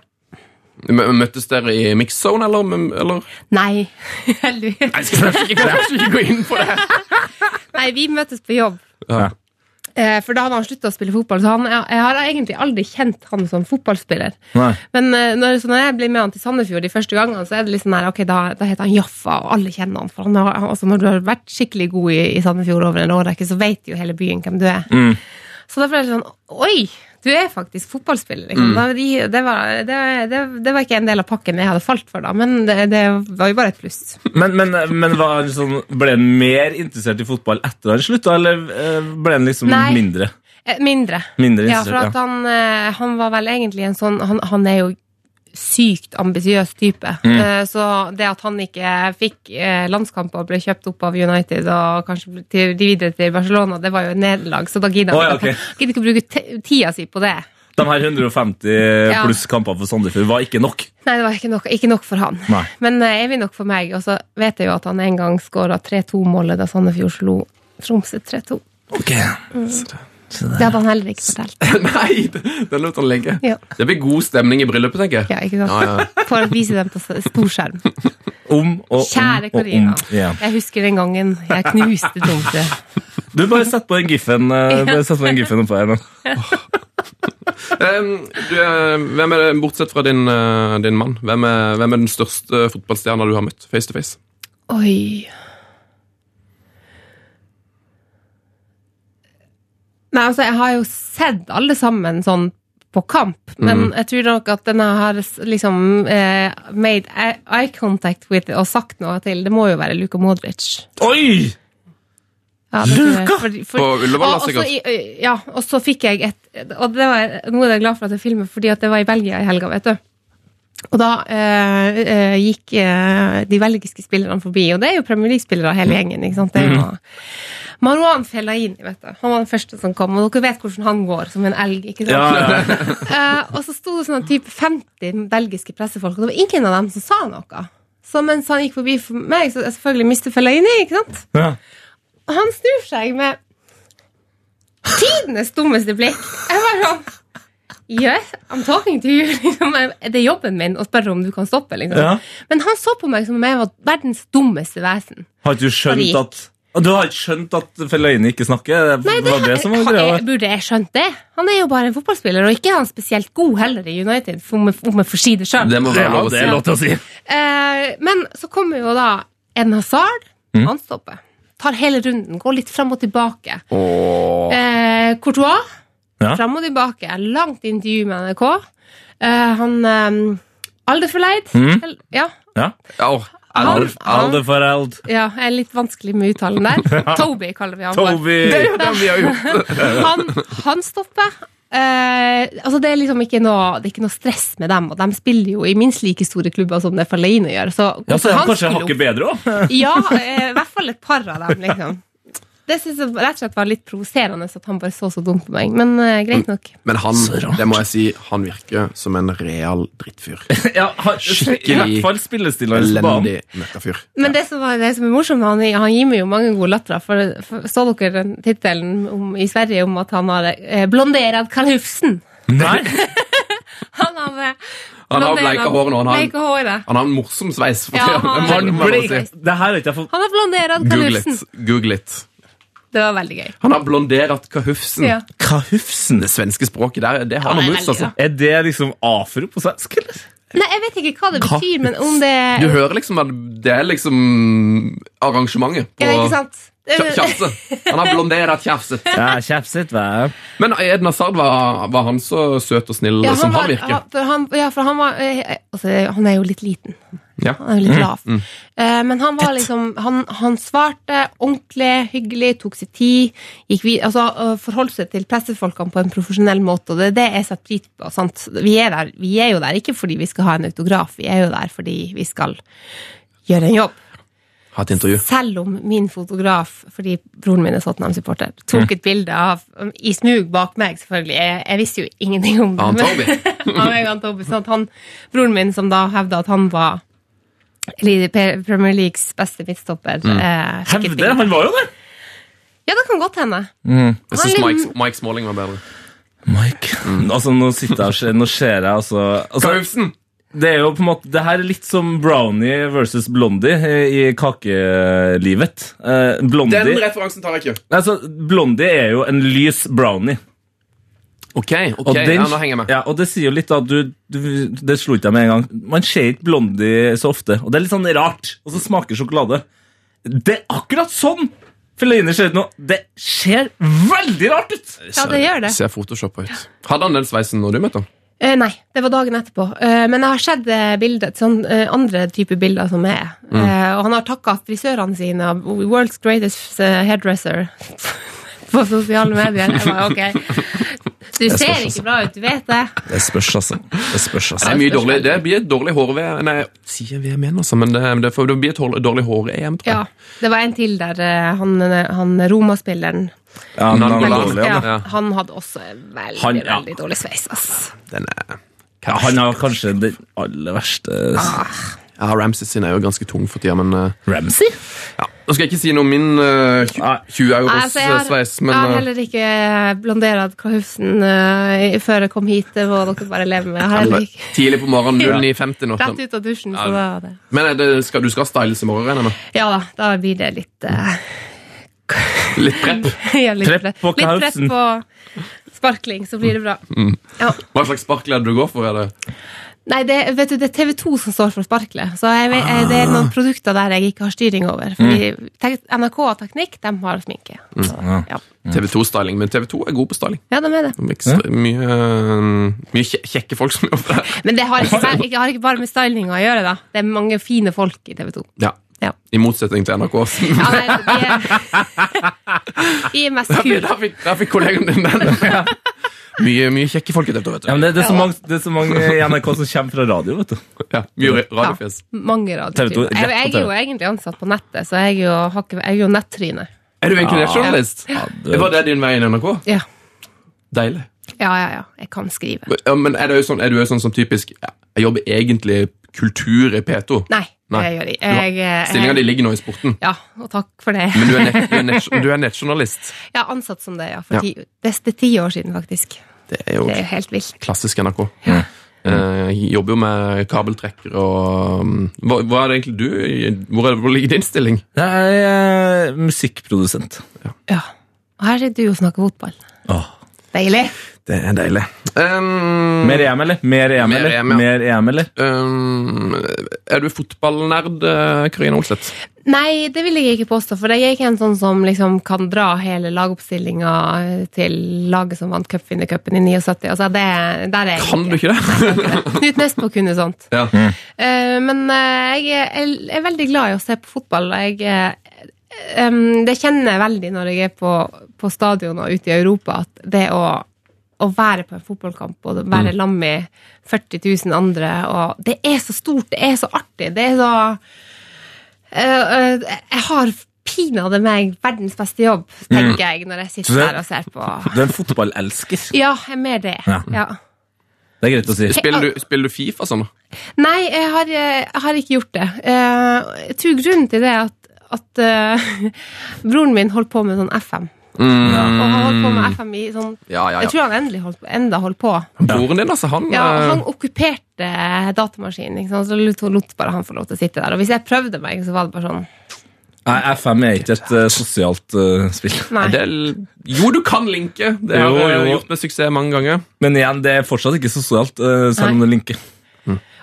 Mø- Møttes dere i mix zone, eller? eller? Nei, heldigvis. Jeg skal kanskje ikke, kanskje ikke gå inn på det. Nei, vi møtes på jobb. Ja. Eh, For da hadde han slutta å spille fotball, så han, jeg har egentlig aldri kjent han som fotballspiller. Nei. Men eh, når, så når jeg blir med han til Sandefjord de første gangene, så er det liksom her, ok, da, da heter han Jaffa, og alle kjenner han. For han har, han- altså, når du har vært skikkelig god i, i Sandefjord over en årrekke, så vet jo hele byen hvem du er. Så derfor er det sånn, oi, du er faktisk fotballspiller. Liksom. Da, de, det, var, det, det, det var ikke en del av pakken jeg hadde falt for da, men det, det var jo bare et pluss. Men, men, men var han sånn, ble han mer interessert i fotball etter han slutta, eller eh, ble han liksom Nei. mindre? Eh, Mindre. Mindre ja, for interessert, at han, eh, han var vel egentlig en sånn Han, han er jo sykt ambisiøs type. Mm. Eh, Så det at han ikke fikk eh, landskamper og ble kjøpt opp av United og kanskje ble til, de videre til Barcelona, det var jo et nederlag, så da gidder han Å, ja, ikke- ok. han gidder ikke å bruke te- tida si på det. De her 150 Ja. pluss kamper for Sandefjord var ikke nok. Nei, det var ikke nok, ikke nok for han. Nei. Men eh, evig nok for meg. Og så vet jeg jo at han en gang skåra 3-2-målet da Sandefjord slo Tromsø 3-2. Ok. Det hadde han heller ikke fortalt. Nei, det- den lot han ligge. Ja. Det blir god stemning i bryllupet, tenker jeg. Ja, ikke sant? Ja, ja. For å vise dem på s- storskjerm. Om og om og Kjære om Karina. igjen. Jeg husker den gangen jeg knuste Tromsø. Du, bare sett på den giffen, eh, bare sett på den giffen oppå her. nå. Em, du, eh, hvem er det, bortsett fra din, eh, din mann, hvem er, hvem er den største fotballstjerna du har møtt face to face? Oi. Nei, altså, jeg har jo sett alle sammen sånn på kamp, men Mm. jeg tror nok at den har s- liksom eh, made eye- eye contact with og sagt noe til. Det må jo være Luka Modric. Oi! Ja, det tror jeg. Luka! Fordi- fordi- På Ullevål, og- da, og så sikkert. i- Ja, og så fikk jeg et Og det var, nå er jeg glad for at jeg filmer, fordi at det var i Belgia i helga, vet du. Og da eh, eh, gikk eh, de belgiske spillerne forbi, og det er jo Premier League-spillere hele gjengen. ikke sant? Det er Mhm. jo Marwan Fellaini, vet du. Han var den første som kom, og dere vet hvordan han går, som en elg. ikke sant? Ja, ja. Eh, og så sto det sånn type 50 belgiske pressefolk, og det var ingen av dem som sa noe. Så mens han gikk forbi for meg, så jeg selvfølgelig mistet Fellaini, ikke sant? ja. Og han snur seg med tidenes dummeste blikk. Jeg var sånn Yes, I'm talking to you. Liksom, er det er jobben min å spørre om du kan stoppe. Liksom. Ja. Men han så på meg som om jeg var verdens dummeste vesen. Har ikke du skjønt Paris. at Og Du har ikke skjønt at Fellaini ikke snakker? Det Nei, det, var det som var har- greia? jeg- Burde jeg skjønt det? Han er jo bare en fotballspiller, og ikke er han spesielt god heller i United, om jeg, om jeg får si det sjøl. Det må være lov å si. lov til å si. Eh, men så kommer jo da en Hazard. Mm. Han stopper. Tar hele runden, går litt fram og tilbake. Åh. Eh, Courtois, Ja. fram og tilbake. Langt intervju med NRK. Eh, han eh, Alderforleid. Mm. El- Ja, Ja. Ja, åh. Alf. Alde for eld. ja, jeg er litt vanskelig med uttalen der. Toby kaller vi han for. Toby! Han, han stopper. Eh, altså det er liksom ikke noe, det er ikke noe stress med dem, og de spiller jo i minst like store klubber som det Fellaini gjør. Så, Ja, så er han kanskje skulle hakket bedre òg. opp- Ja, eh, i hvert fall et par av dem, liksom. Det syns jeg rett og slett var litt provoserende at han bare så så dumt på meg, men eh, greit nok. Men han, det må jeg si, han virker som en real drittfyr. Ja, han- I hvert fall spillestilleren på banen. Elendig møkkafyr. Men det som, var, det som er morsomt, han, han gir meg jo mange gode latter. For, for så dere den tittelen om- i Sverige om at han har eh, blonderad Karl Hufsen? Nei, Han har, eh, Han har blonderad- bleika hår nå, han har- Bleika håret. Han har en morsom sveis. For Ja, tiden. han- Det må- det han må ble jeg bare si. ikke Det her har ikke jeg fått Han har blonderad Karl Google Hufsen. it. Google it. Det var veldig gøy. Han har blondert kahufsen. Ja. Kahufsen. Det svenske språket der, det har noe Ja, det er mus, veldig altså. Er det liksom afro på svensk, eller? Nei, jeg vet ikke hva det betyr, men om det Du hører liksom at det er liksom arrangementet på Ja, ikke sant? Kja- Tjafse. Han har blondert tjafset. Ja, kjefset, hva? Men Eden Hazard, var, var han så søt og snill som han var- virker? ja, for han, ja, for han var eh, altså, Han er jo litt liten. Ja. Mm, Han er jo litt lav. Eh, men han var liksom han, han svarte ordentlig, hyggelig, tok seg tid. Gikk vid, altså, eh, forholdt seg til pressefolkene på en profesjonell måte, og det er det jeg setter pris på. Sant? Vi, er der, vi er jo der ikke fordi vi skal ha en autograf, vi er jo der fordi vi skal gjøre en jobb. Ha et intervju. Selv om min fotograf, fordi broren min er Tottenham-supporter, Mm. tok et bilde av um, i smug bak meg, selvfølgelig. Jeg, jeg visste jo ingenting om det. Av han men- Toby? av meg og han Toby. Sånn at han, broren min, som da hevda at han var Li- Pe- Premier Leagues beste midtstopper eh, fikk et Mm. Hevder, bilde. han var jo der! Ja, det kan godt hende. Jeg Han syns er litt- Mike, Mike Smalling var bedre. Mike. Altså, nå sitter jeg og ser, nå ser jeg altså, altså Klausen! Det er jo på en måte Det her er litt som brownie versus blondie eh, i kakelivet. Eh, Den blondie, referansen tar jeg ikke. altså, blondie er jo en lys brownie. Ok, ok, Og den- ja, nå henger jeg med. Ja, og det sier jo litt at du, du Det slo ikke jeg med en gang. Man ser ikke Blondie så ofte, og det er litt sånn rart. Og så smaker sjokolade. Det er akkurat sånn! Fellaini ser ut nå. Det ser veldig rart ut! Ja, det gjør det. Ser photoshoppa ut. Hadde han den sveisen når du møtte han? Eh, nei, det var dagen etterpå. Eh, men jeg har sett eh, bilder, sånn, eh, andre typer bilder som er. Eh, og han har takka frisørene sine og World's Greatest eh, Hairdresser på sosiale medier. Jeg bare, ok. Du ser ikke bra ut, du vet det. Det spørs, altså. Det spørs, Det, er mye dårlig, det blir et dårlig hår-VM. Nei, sier VM igjen, altså, men det, det, får- det blir et hår- dårlig hår-EM, tror jeg. Ja, Det var en til der, eh, han, han Roma-spilleren Ja, men han, er Nangolan. dårlig, han. ja, ja. Han hadde også en veldig, Han, ja. veldig dårlig sveis. ass. Den er... Ja, han har kanskje den aller verste Ja, Ramses sin er jo ganske tung for tida, men eh, Ramsey? ja. Nå skal jeg ikke si noe om min eh, tju- Nei. 20 euros Altså, jeg, har, eh, sveis, jeg har men eh, heller ikke blondert Kahufsen før jeg kom hit. Det må dere bare leve med. Jeg har heller ikke tidlig på morgenen 09.50 nå. Rett ut av dusjen, så da det. sånn. Men eh, det, skal, du skal styles i morgen, regner jeg med? Ja da, da blir det litt uh, Litt prep. ja, litt Trepp press- på Mm. litt Kahufsen. press på sparkling, så blir det bra. Ja. Hva slags sparkel er det du går for? Er det? Nei, det, vet du, det er TV2 som står for sparklet. Så jeg, vet- eh, det er Ah. noen produkter der jeg ikke har styring over. Fordi Mm. tek, NRK og Teknikk, de har sminke. Ja. Mm. TV2-styling, men TV2 er god på styling. ja, de er det. Det er ekstra- Mye, eh, mye kje- kjekke folk som jobber der. Men det har ikke, bare- jeg har ikke bare med stylinga å gjøre, da. Det er mange fine folk i TV 2. Ja. Ja. I motsetning til NRK. Ja, nei, de er, de er mest Der kule. fikk, der fikk kollegaen din den. Mye, mye kjekke folk i TV2, vet Ja, du. men det, det, er så mange, det er så mange i NRK som kommer fra radio, vet du. Ja, mye Ja, radiofjes. mange TV2, radiotyper. rett på Jeg, jeg er jo TV. egentlig ansatt på nettet, så jeg er jo, har ikke- jeg er jo nettryne. Er du egentlig journalist? det- Var det din vei inn i NRK? Ja. Deilig. ja, ja, ja. Jeg kan skrive. Ja, Men er du jo sånn, er du jo sånn som typisk ja, Jeg jobber egentlig kultur i P2. Nei, Nei. det gjør jeg. jeg, eh, Stillinga jeg di ligger nå i sporten. ja, og takk for det. Men du er, nett, du, er nett, du er nettjournalist. Jeg er ansatt som det, ja. Ja. For ti, det det er ti år siden, faktisk. Det er jo Det er jo helt vilt. klassisk NRK. Eh, jobber jo med kabeltrekker og um, hva, hva er det egentlig du Hvor, er, hvor ligger din stilling? Det er eh, musikkprodusent. Ja. Og her sitter du og snakker fotball. Åh. Mm. Deilig. Det er deilig. Um, Mer EM, eller? Mer EM, Mer eller? EM, ja. Mer EM, eller? um, er du fotballnerd, eh, Karina Olseth? Nei, det vil jeg ikke påstå, for jeg er ikke en sånn som liksom kan dra hele lagoppstillinga til laget som vant cupvinnercupen i 79. Altså, det, der er jeg Kan du ikke det? Knut Nesbø kunne sånt. ja. Eh, men eh, jeg, er, jeg er veldig glad i å se på fotball. Jeg, eh, em, det kjenner jeg veldig når jeg er på, på stadion og ute i Europa, at det å, å være på en fotballkamp og være Mm. lam med 40 000 andre, og det er så stort, det er så artig, det er så Eh, eh, Jeg har pinadø meg verdens beste jobb, tenker jeg, når jeg sitter Mm. Så det- der og ser på. Du er en fotballelsker. Ja, jeg er mer det. Ja. Ja. Det er greit å si. Spiller, du, spiller du Fifa sånn? da? Nei, jeg har, jeg har ikke gjort det. Eh, Jeg tror grunnen til det er at, at eh, broren min holdt på med sånn FM. Og han holdt på med FM i sånn Mm. Ja, ja, Jeg ja. tror han endelig holdt på, enda holdt på. Broren din, altså. Han, Ja, eh, Han okkuperte datamaskinen, ikke sant? så lot, lot bare han få lov til å sitte der. Og hvis jeg prøvde meg, så var det bare sånn Nei, FM er ikke et eh, sosialt eh, spill. Nei. det er, l- jo, du kan linke. Det har Jo, jeg jo. gjort med suksess mange ganger. Men igjen, det er fortsatt ikke sosialt, eh, selv om Nei. det linker.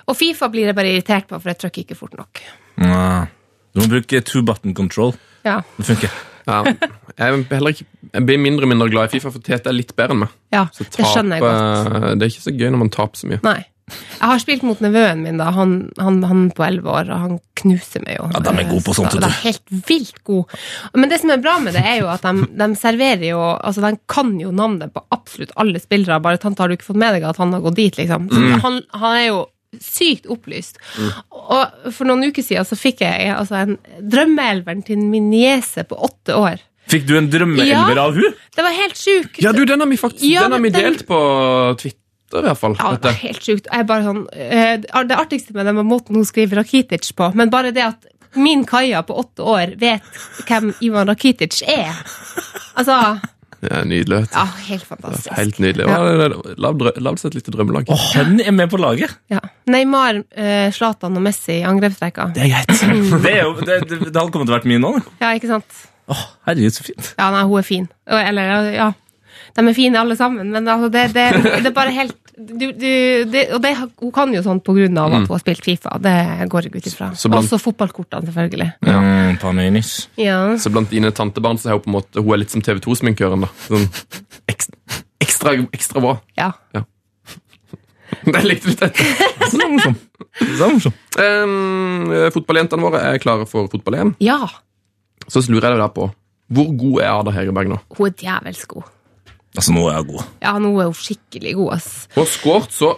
Og Fifa blir jeg bare irritert på, for jeg trykker ikke fort nok. Du må bruke two button control. Ja, Det funker. Ja. Jeg, er heller ikke, jeg blir mindre og mindre glad i Fifa, for Tete er litt bedre enn meg. ja Så det skjønner jeg tap, godt. eh, Det er ikke så gøy når man taper så mye. Nei. Jeg har spilt mot nevøen min, da. Han, han, han på elleve år, og han knuser meg jo. Ja, de er gode på sånt, vet Så De du. er helt vilt gode. Men det som er bra med det, er jo at de, de serverer jo Altså, de kan jo navnet på absolutt alle spillere, bare tante, har du ikke fått med deg at han har gått dit, liksom? Så Mm. han, han er jo sykt opplyst. Og for noen uker siden så fikk jeg altså en drømmeelveren til min niese på åtte år. Fikk du en drømmeelver Ja. av hun? Det var helt sjukt. Ja, du, den har vi faktisk Ja, den har vi men den- delt på Twitter, i hvert fall. Ja, vet det var jeg. helt sjukt. Jeg er bare sånn, eh, det artigste med det var måten hun skriver Rakitic på, men bare det at min Kaja på åtte år vet hvem Ivan Rakitic er. Altså, Ja, nydelig. vet du. ja, helt fantastisk. Helt nydelig. Ja. Ja. Lagd seg et lite drømmelag. Og han er med på laget! Ja. Neymar, eh, Zlatan og Messi i angrepsrekka. Det er greit. Det, er jo, det, det, det hadde kommet til å vært mye nå. da. Ja, ikke sant? Åh, herregud, så fint. Ja, nei, hun er fin. Og- Eller, ja. De er fine alle sammen, men altså det, det, det er bare helt du, du, det, Og det, hun kan jo sånn på grunn av at hun har spilt Fifa. Det går jeg ut ifra. Mm. Så blant- Også fotballkortene, selvfølgelig. Mm, Paninis. Ja. Så blant dine tantebarn så er hun på en måte Hun er litt som TV 2-sminkøren. da sånn ekstra, ekstra, ekstra bra. ja. Det likte litt dette. Så det er morsomt. Så det er morsomt. Um, eh, fotballjentene våre er klare for fotball-EM. ja. Så lurer jeg deg der på hvor god er Ada Hegerberg nå? Hun er djevelsk god. Altså, nå er jeg god. Ja, nå er hun skikkelig god, ass. Hun har skåret så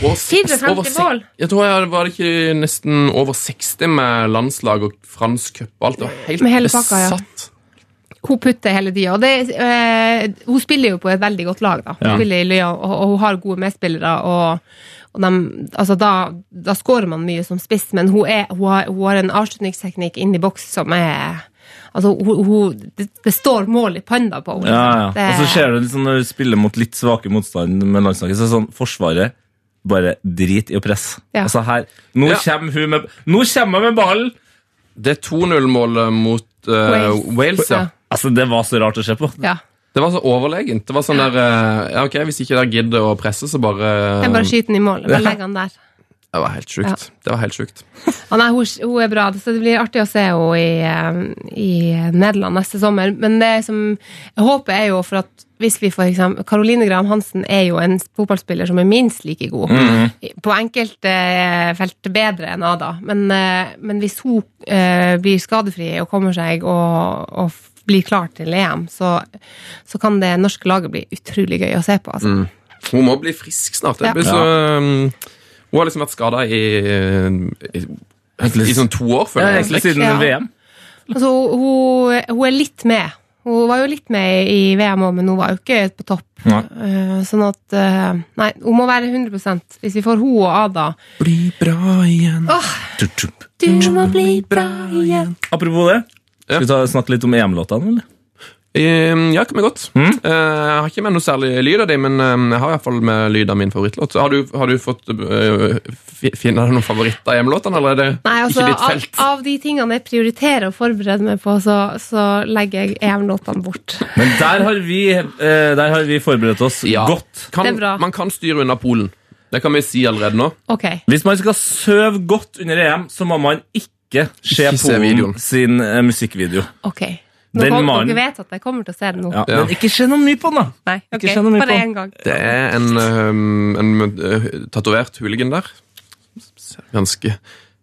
over seks- 54 over seks- mål. Jeg tror jeg var det ikke nesten over 60 med landslag og fransk cup og alt. Det var helt Med hele pakka, ja. besatt. Hun putter hele tida. Og det, eh, hun spiller jo på et veldig godt lag, da. Hun Ja. spiller i Lyon, og, og hun har gode medspillere. og, og dem- altså da, da skårer man mye som spiss, men hun, er, hun, har, hun har en avslutningsteknikk inn i boks som er Altså, hun, hun, det, det står mål i panda på henne. Ja, ja. liksom. Det- Og så ser du liksom når du spiller mot litt svake motstand med landslaget, så er det sånn Forsvaret bare drit i å presse. Ja. Altså her, nå Ja. kommer hun med Nå kommer hun med ballen! Det 2-0-målet mot eh, Wales. Wales, ja. Ja. Altså, det var så rart å se på. ja. Det var så overlegent. Det var sånn der eh, ja, ok, Hvis ikke dere gidder å presse, så bare Jeg bare skyter den i mål. Bare legger den der. Det var helt sjukt. Det var helt sjukt. Ja, nei, hun, hun er bra, så det blir artig å se henne i, eh, i Nederland neste sommer. Men det som jeg håper er jo for at hvis vi for eksempel, Caroline Graham Hansen er jo en fotballspiller som er minst like god. På enkelte eh, felt bedre enn Ada. Men, eh, men hvis hun eh, blir skadefri og kommer seg og, og f- blir klar til EM, så, så kan det norske laget bli utrolig gøy å se på. Altså. Hun må bli frisk snart. Jeg Ja. blir så, um, hun har liksom vært skada i, i, i sånn to år, Ja, føler jeg. Egentlig egentlig. siden Ja. VM. Altså, hun, hun er litt med. Hun var jo litt med i VM òg, men hun var jo ikke på topp. Nei. Eh, sånn at eh, Nei, hun må være 100 Hvis vi får hun og Ada Bli bra igjen. Tup, tup. Du må bli bra igjen. Apropos det, Ja. skal vi ta, snakke litt om EM-låtene? eller? Um, ja, kan vi godt. Eh, jeg har ikke med noe særlig lyd av dem, men um, jeg har i hvert fall med lyd av min favorittlåt. Har du, har du fått uh, fi- finne deg noen favoritter av hjemmelåtene, eller er det Nei, altså, ikke ditt av, felt? av de tingene jeg prioriterer å forberede meg på, så, så legger jeg EM-låtene bort. Men der har vi, eh, der har vi forberedt oss Ja. godt. Kan, Det er bra. Man kan styre unna Polen. Det kan vi si allerede nå. Ok. Hvis man skal søve godt under EM, så må man ikke se Ikke se Polen videoen. sin eh, musikkvideo. ok Nå Den kom, mannen- Dere vet at jeg kommer til å se det nå. Ja. Ja. Men ikke se noe mye på den, da! Nei, ok, Ikke se noe mye Bare på. én gang. Det er en, um, en uh, tatovert hooligan der. Ser ganske,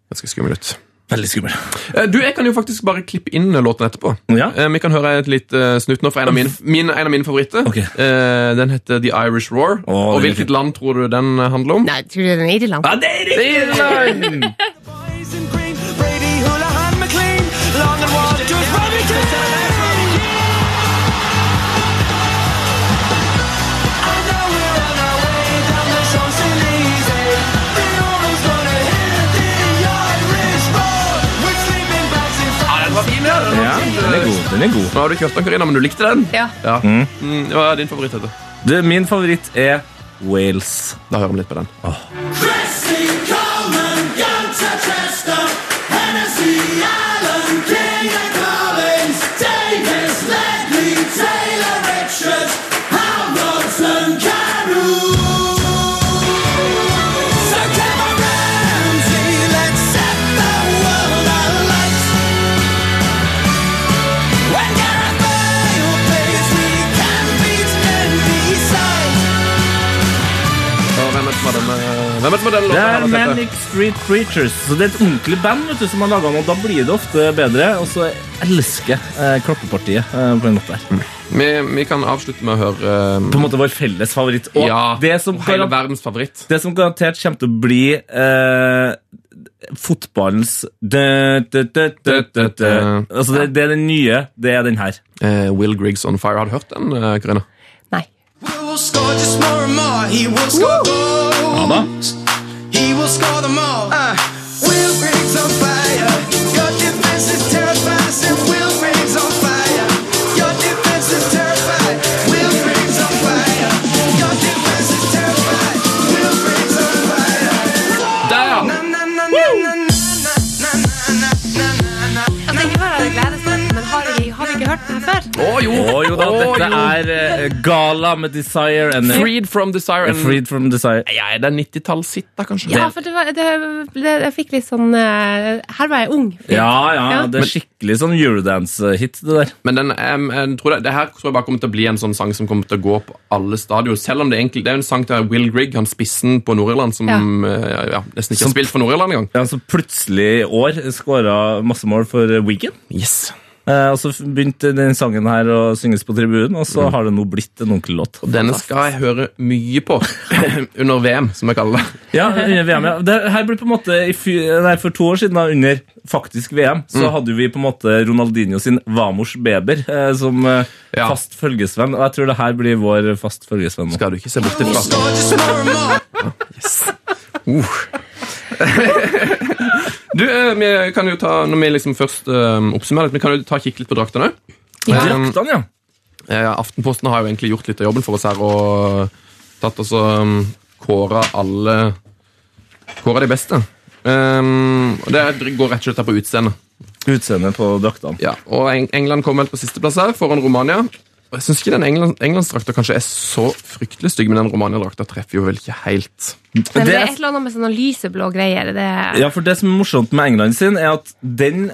ganske skummel ut. Veldig skummel. Eh, Du, Jeg kan jo faktisk bare klippe inn låten etterpå. Ja. Eh, Vi kan høre et litt eh, snutt nå fra en av mine, min, en av mine favoritter. Ok. Eh, Den heter The Irish Roar. Å, og den er hvilket fin. land tror du den eh, handler om? Nei, tror du den er Irland? Ja, det er riktig! Boys in green, Brady, Houlihan, McLean, Long and Wide, George Robinson. And Oh, now we're on our way down the Champs-Élysées. The Orioles gonna hit the Irish roar. We're sleeping bags in front. Ja, den er god. den er god. Nå har du ikke hørt den, Karina, men du likte den. Ja. Ja. Mm, hva er din favoritt? Heter? Du, min favoritt er Wales. Da hører vi litt på den. Cressy, Coleman, Gunter, Chester, Hennessy, Allen, King and Collins, Davis, Ledley, Taylor, Richards, Hamilton, Carew. So come on, Ramsey, let's set the world alight. When Gareth Bale plays, we can beat any side. Og hvem er det som var denne, hvem Hvem er det som har den Det låta? her, er da, Tete? Manic Street Preachers. Så Det er et ordentlig band vet du, som har laga noe. Da blir det ofte bedre. Og så elsker jeg eh, klappepartiet eh, på en måte her. Vi, vi kan avslutte med å høre eh, På en måte vår felles favoritt. Og ja, det, som hele garan- verdens favoritt. det som garantert kommer til å bli eh, fotballens dø, dø, dø, dø, dø, dø. Altså, det, det er den nye. Det er den her. Eh, Will Griggs On Fire. Har du hørt den, eh, Karina? Nei. Will will score just more and more. He will score goals. He will score them all. Uh, Will Griggs on fire. Your defense is terrified. Said Will Griggs on fire. Your defense is terrified. Will Griggs on fire. Your defense is terrified. Will Griggs on fire. Der! Na, na, na, na, na, na, na, na, na, na, na. Altså, ikke bare hadde gledet meg, men har vi, har vi ikke hørt den før? Å jo! Å jo da, Å, dette jo. er eh, Gala med Desire and Freed from Desire. And... Freed from Desire. Ja, er det 90-tallshit, da, kanskje? Ja, for det var, det, det, jeg fikk litt sånn eh, Her var jeg ung. Ja, ja, Ja. det er skikkelig sånn eurodance-hit, det der. Men den, em, jeg tror det, det her tror jeg bare kommer til å bli en sånn sang som kommer til å gå på alle stadioner. Selv om det egentlig det er jo en sang til Will Grigg, han spissen på Nord-Irland, som Ja. eh, ja, nesten ikke Som- har spilt for Nord-Irland engang. Ja, som plutselig i år skåra masse mål for Wigan. Yes. Eh, og så begynte den sangen her å synges på tribunen, og så har det nå blitt en onkellåt. Denne skal jeg høre mye på under VM, som jeg kaller det. Ja, eh, VM, ja. Det her blir på en måte i fy, nei, For to år siden, da, under faktisk VM, så hadde vi på en måte Ronaldinho sin Vamos Beber eh, som eh, Ja. fast følgesvenn. Og jeg tror det her blir vår fast følgesvenn nå. Skal du ikke se bort ifra. Score just more and more. Uh. du, eh, vi kan jo ta, når vi liksom først eh, oppsummerer litt, vi kan jo ta og kikke litt på draktene. Eh, Draktene, ja. Eh, Aftenposten har jo egentlig gjort litt av jobben for oss her og tatt oss og um, kåra alle Kåra de beste. Um, og Det er- går rett og slett her på utseendet. Utseendet på draktene. Ja, og Eng- England kom helt på sisteplass her, foran Romania. Og Jeg syns ikke den England, Englandsdrakta kanskje er så fryktelig stygg, men den Romania-drakta treffer jo vel ikke helt. Men det Det er er- et eller annet med sånne lyseblå greier. Det, Ja, for det som er morsomt med England sin, er at den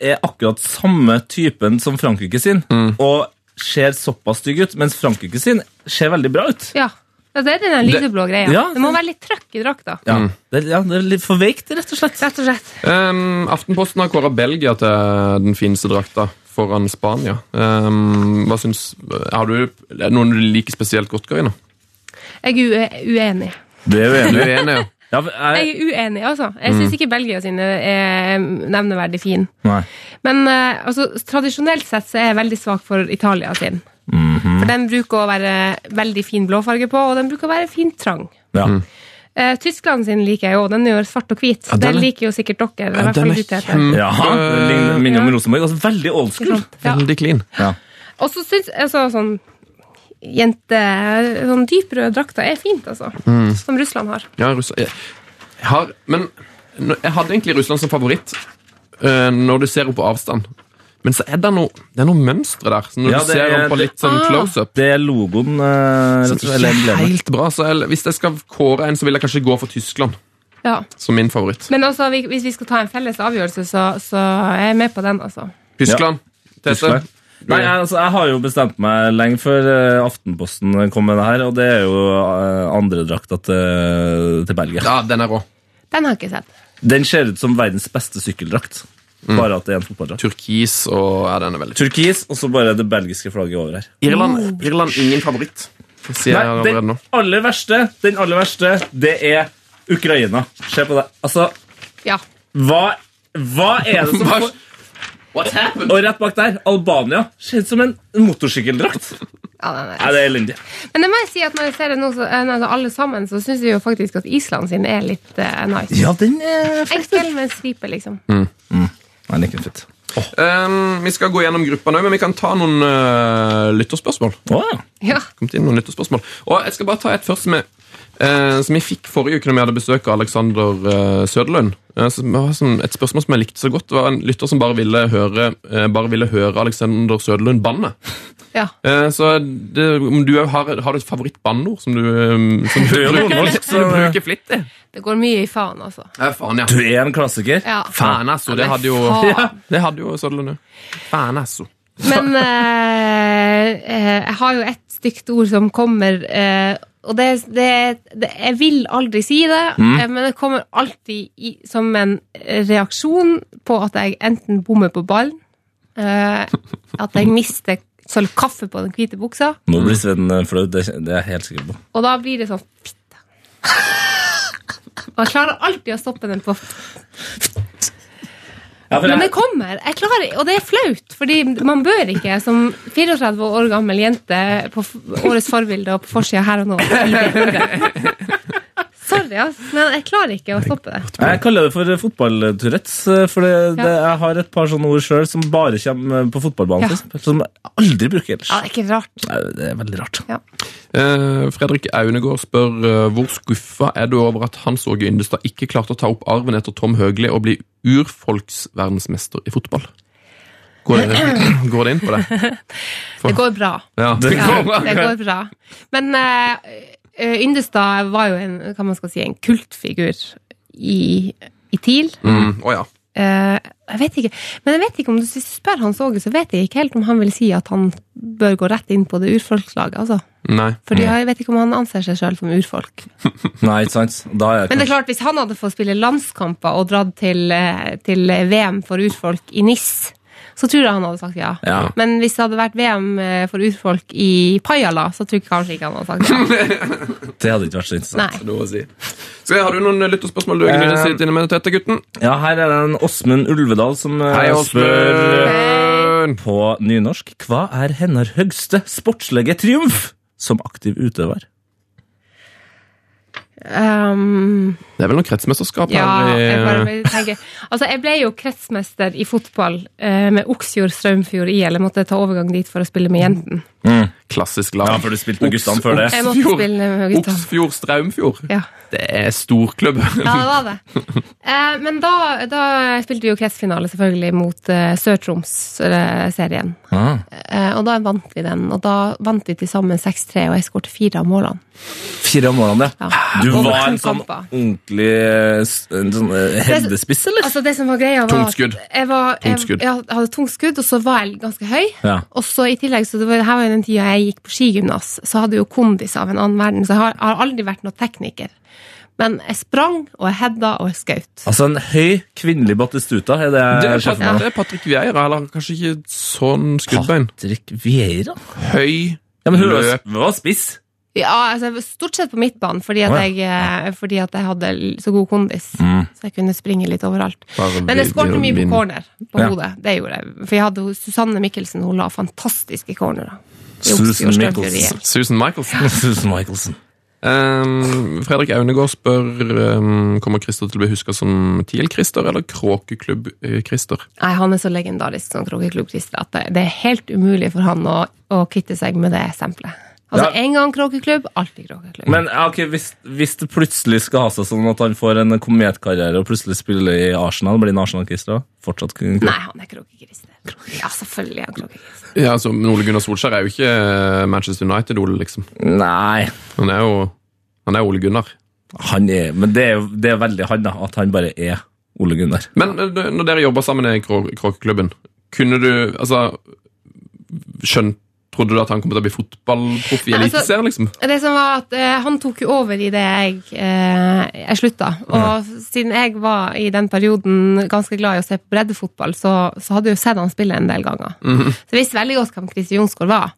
er akkurat samme typen som Frankrike sin, og ser såpass stygg ut, mens Frankrike sin ser veldig bra ut. ja. Ja, det er den der lyseblå greia. Ja. Det må være litt trøkk i drakta. Ja, det, ja, det er litt for veikt, rett og slett. Rett og slett. Um, Aftenposten har kåra Belgia til den fineste drakta foran Spania. Um, hva syns Har du er det noen du liker spesielt godt, Karina? Jeg er ue- uenig. Det er jo Du enig. er enig, ja? Ja, for eh, Jeg jeg, er uenig, altså. Jeg Mm. syns ikke Belgia sine er nevneverdig fin. nei. Men eh, altså, tradisjonelt sett så er jeg veldig svak for Italia sin. Mhm. For den bruker å være veldig fin blåfarge på, og den bruker å være fint trang. Ja. Eh, Tyskland sin liker jeg jo, den er jo svart og hvit. Ja, den, den er- liker jo sikkert dere. i hvert fall Den er de til etter. kjempe... Ja, det ligner- minner om Ja. Rosenborg. Altså, veldig old school. Ja. Veldig clean. Og så syns jeg altså, sånn jente Sånn dyprøde drakter er fint, altså. Mm. Som Russland har. Ja, Russland jeg, jeg har, Men nå- jeg hadde egentlig Russland som favoritt eh, når du ser henne på avstand. Men så er det noe, det er noe mønstre der. Så når Ja, du det ser er- henne på litt sånn Ah. close-up Det er logoen, eh, så rett og slett, er eller det ikke emblemet. helt bra. Så jeg, hvis jeg skal kåre en, så vil jeg kanskje gå for Tyskland Ja. som min favoritt. Men altså, vi- hvis vi skal ta en felles avgjørelse, så, så er jeg med på den, altså. Tyskland. Tete. Tyskland. Nei, jeg, altså, jeg har jo bestemt meg lenge før eh, Aftenposten kom med det her, og det er jo eh, andre drakta til, til Belgia. Ja, den er rå. Den har jeg ikke sett. Den ser ut som verdens beste sykkeldrakt. Bare at det er en fotballdrakt. Turkis og ja, den er veldig Turkis, og så bare det belgiske flagget over her. Irland, Irland ingen favoritt. Det Sier jeg Nei, allerede den nå. aller verste, den aller verste, det er Ukraina. Se på det. Altså, Ja. hva, hva er det som Hva- får Og rett bak der, Albania. Ser ut som en motorsykkeldrakt. ja den Nei, er. det er elendig. Men det må jeg si at når jeg ser det nå, så, eh, altså, alle sammen, så syns jeg jo faktisk at Island sin er litt eh, nice. Ja, den er Enkel, men stripe, liksom. Mm. Nei, den er ikke fett. Um, vi skal gå gjennom gruppa nå, men vi kan ta noen eh, lytterspørsmål. Å, ja. Ja. kommet inn noen lytterspørsmål. Og jeg skal bare ta et først som jeg, eh, som jeg fikk forrige uke når vi hadde besøk av Alexander eh, Søderlund. Eh, som var sånn, et spørsmål som jeg likte så godt. Det var en lytter som bare ville høre, eh, bare ville høre Alexander Søderlund banne. ja. Eh, så det, om du har, har du et favorittbanneord som du, eh, som du, Du er jo bruker, nordnorsk, som så- du bruker flittig? Det går mye i faen, altså. Ja, Eh, faen, ja. Du er en klassiker. Ja. Faen, altså. Det hadde jo, Men faen. det hadde jo Søderlund òg. Faen, altså. Men eh, eh, jeg har jo et stygt ord som kommer eh, og det, det, det Jeg vil aldri si det, eh, men det kommer alltid i, som en reaksjon på at jeg enten bommer på ballen, eh, at jeg mister sølv kaffe på den hvite buksa, Nå blir Sven eh, flau, det, det er jeg helt sikker på. og da blir det sånn fitte. Og jeg klarer alltid å stoppe den på Ja, for Men det jeg, kommer. Jeg klarer, og det er flaut, fordi man bør ikke som 34 år gammel jente på f- årets forbilde og på forsida her og nå. Sorry, ass, men jeg klarer ikke å stoppe det. jeg kaller det for fotball-Tourettes, eh, for det, Ja. det, jeg har et par sånne ord sjøl som bare kommer eh, på fotballbanen, Ja. for eksempel, som jeg aldri bruker ellers. Ja, det er ikke rart. Nei, Det er veldig rart. Eh, Fredrik Aunegård spør eh, hvor skuffa er du over at Hans Åge Yndestad ikke klarte å ta opp arven etter Tom Høgli og bli urfolksverdensmester i fotball? Går det, går det inn på det? Det går bra. Ja. Ja, det går bra. Men eh, Yndestad var jo en, hva man skal si, en kultfigur i, i TIL. Mm, å ja. Eh, jeg vet ikke, men jeg vet ikke om du, hvis du spør Hans Åge, så vet jeg ikke helt om han vil si at han bør gå rett inn på det urfolkslaget, altså. Nei. Fordi jeg vet ikke om han anser seg sjøl som urfolk. Nei, ikke sant? Da er jeg Men det er klart, hvis han hadde fått spille landskamper og dratt til, eh, til VM for urfolk i NIS, så tror jeg han hadde sagt ja. Ja. Men hvis det hadde vært VM eh, for urfolk i Pajala, så tror jeg kanskje ikke han hadde sagt ja. Det hadde ikke vært så Det interessant. Nei. er noe å si. Så har du noen eh, lytterspørsmål du egentlig Eh, vil si til med dette, gutten? Ja, her er det en Åsmund Ulvedal som eh, spør eh, på nynorsk Hva er hennes høgste sportslige triumf som aktiv utøver? Um, Det er vel noe kretsmesterskap ja, jeg her bare i eh, vil tenke. Altså, jeg ble jo kretsmester i fotball eh, med Oksfjord Straumfjord IL. Jeg måtte ta overgang dit for å spille med jentene. klassisk lag. for du spilte med guttene før det. Jeg måtte Oksfjord. spille med Høgestad. Oksfjord Straumfjord. Ja. Det er storklubb. Ja, det var det. Eh, men da, da spilte vi jo kretsfinale selvfølgelig mot eh, Sør-Troms-serien. Ah. Eh, og da vant vi den, og da vant vi til sammen 6-3, og jeg skåret fire av målene. Fire om morgenen, ja. Ja. Du Over var to en sånn kamper. ordentlig eh, s- en sånn, eh, hendespiss, eller? Altså det som var greia var Tungt skudd. at Jeg, var, jeg, Tungt skudd. ja, jeg hadde tungt skudd, og så var jeg ganske høy. Ja. Og så i tillegg, så det var, her var jo den tida jeg gikk på skigymnas, så hadde jeg jo kondis av en annen verden, så jeg har, har aldri vært noen tekniker. Men jeg sprang, og jeg hedda, og jeg skjøt. Altså en høy kvinnelig Batistuta er det Det er, jeg ser Pat for meg. det er Patrick Vieira, eller kanskje ikke sånn skuddbein. Patrick Vieira? Høy. Ja, men hun var, Løp. hun var spiss. Ja, altså jeg var stort sett på midtbanen, fordi at, Å, ja. Mm. jeg, eh, fordi at jeg hadde l- så god kondis. Så jeg kunne springe litt overalt. Bare Men jeg vi- skåret mye på vinn. corner på Ja. hodet. Det gjorde jeg. For jeg hadde jo Susanne Mikkelsen, hun la fantastiske cornerer. I Susan Oksfjord Størfjord Mikkelsen. igjen. Susan Michaels. Susan Michelsen. Um, Fredrik Aunegård spør um, Kommer Christer til å bli huska som TIL-Christer eller eh, Kråkeklubb-Christer. Nei, han er så legendarisk som Kråkeklubb-Christer at det, det er helt umulig for han å, å kvitte seg med det stempelet. Altså Ja. en gang kråkeklubb, alltid kråkeklubb. Men ja, ok, hvis, hvis det plutselig skal ha seg sånn at han får en kometkarriere og plutselig spiller i Arsenal, blir han Arsenal-krister da? Fortsatt kun Nei, han er kråkekrister. Ja, selvfølgelig er han kråkekrister. Ja, altså, men Ole Gunnar Solskjær er jo ikke eh, Manchester United-Ole, liksom. Nei. Han er jo han er Ole Gunnar. Han er, men det er, jo- det er veldig han, da. At han bare er Ole Gunnar. Men eh, du- når dere jobba sammen i Krå- Kråkeklubben, kunne du altså, skjønt, Trodde du at han kom til å bli fotballproff i Nei, altså- Eliteserien, liksom? Det som var at eh, Han tok jo over i det jeg, eh, jeg slutta. Og siden jeg var i den perioden ganske glad i å se på breddefotball, så, så hadde jeg jo sett han spille en del ganger. Så jeg visste veldig godt hvem Christer Jonsgaard var.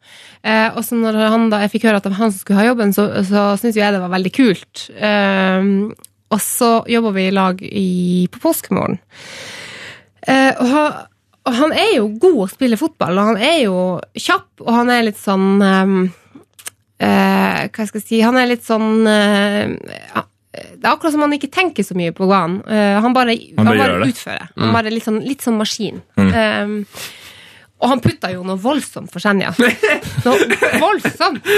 Eh, og så når han da, jeg fikk høre at det var han som skulle ha jobben, så, så syntes jo jeg det var veldig kult. Eh, og så jobba vi i lag i, på påskemorgen. Eh, og, han, og han er jo god å spille fotball, og han er jo kjapp, og han er litt sånn ehm, eh, Hva skal jeg si Han er litt sånn eh, ja, Det er akkurat som han ikke tenker så mye på hva han eh, Han bare, han bare bare, gjør det. Mm. utfører. Han bare litt sånn, litt sånn maskin. Ehm, og han putta jo noe voldsomt for Senja. Noe voldsomt!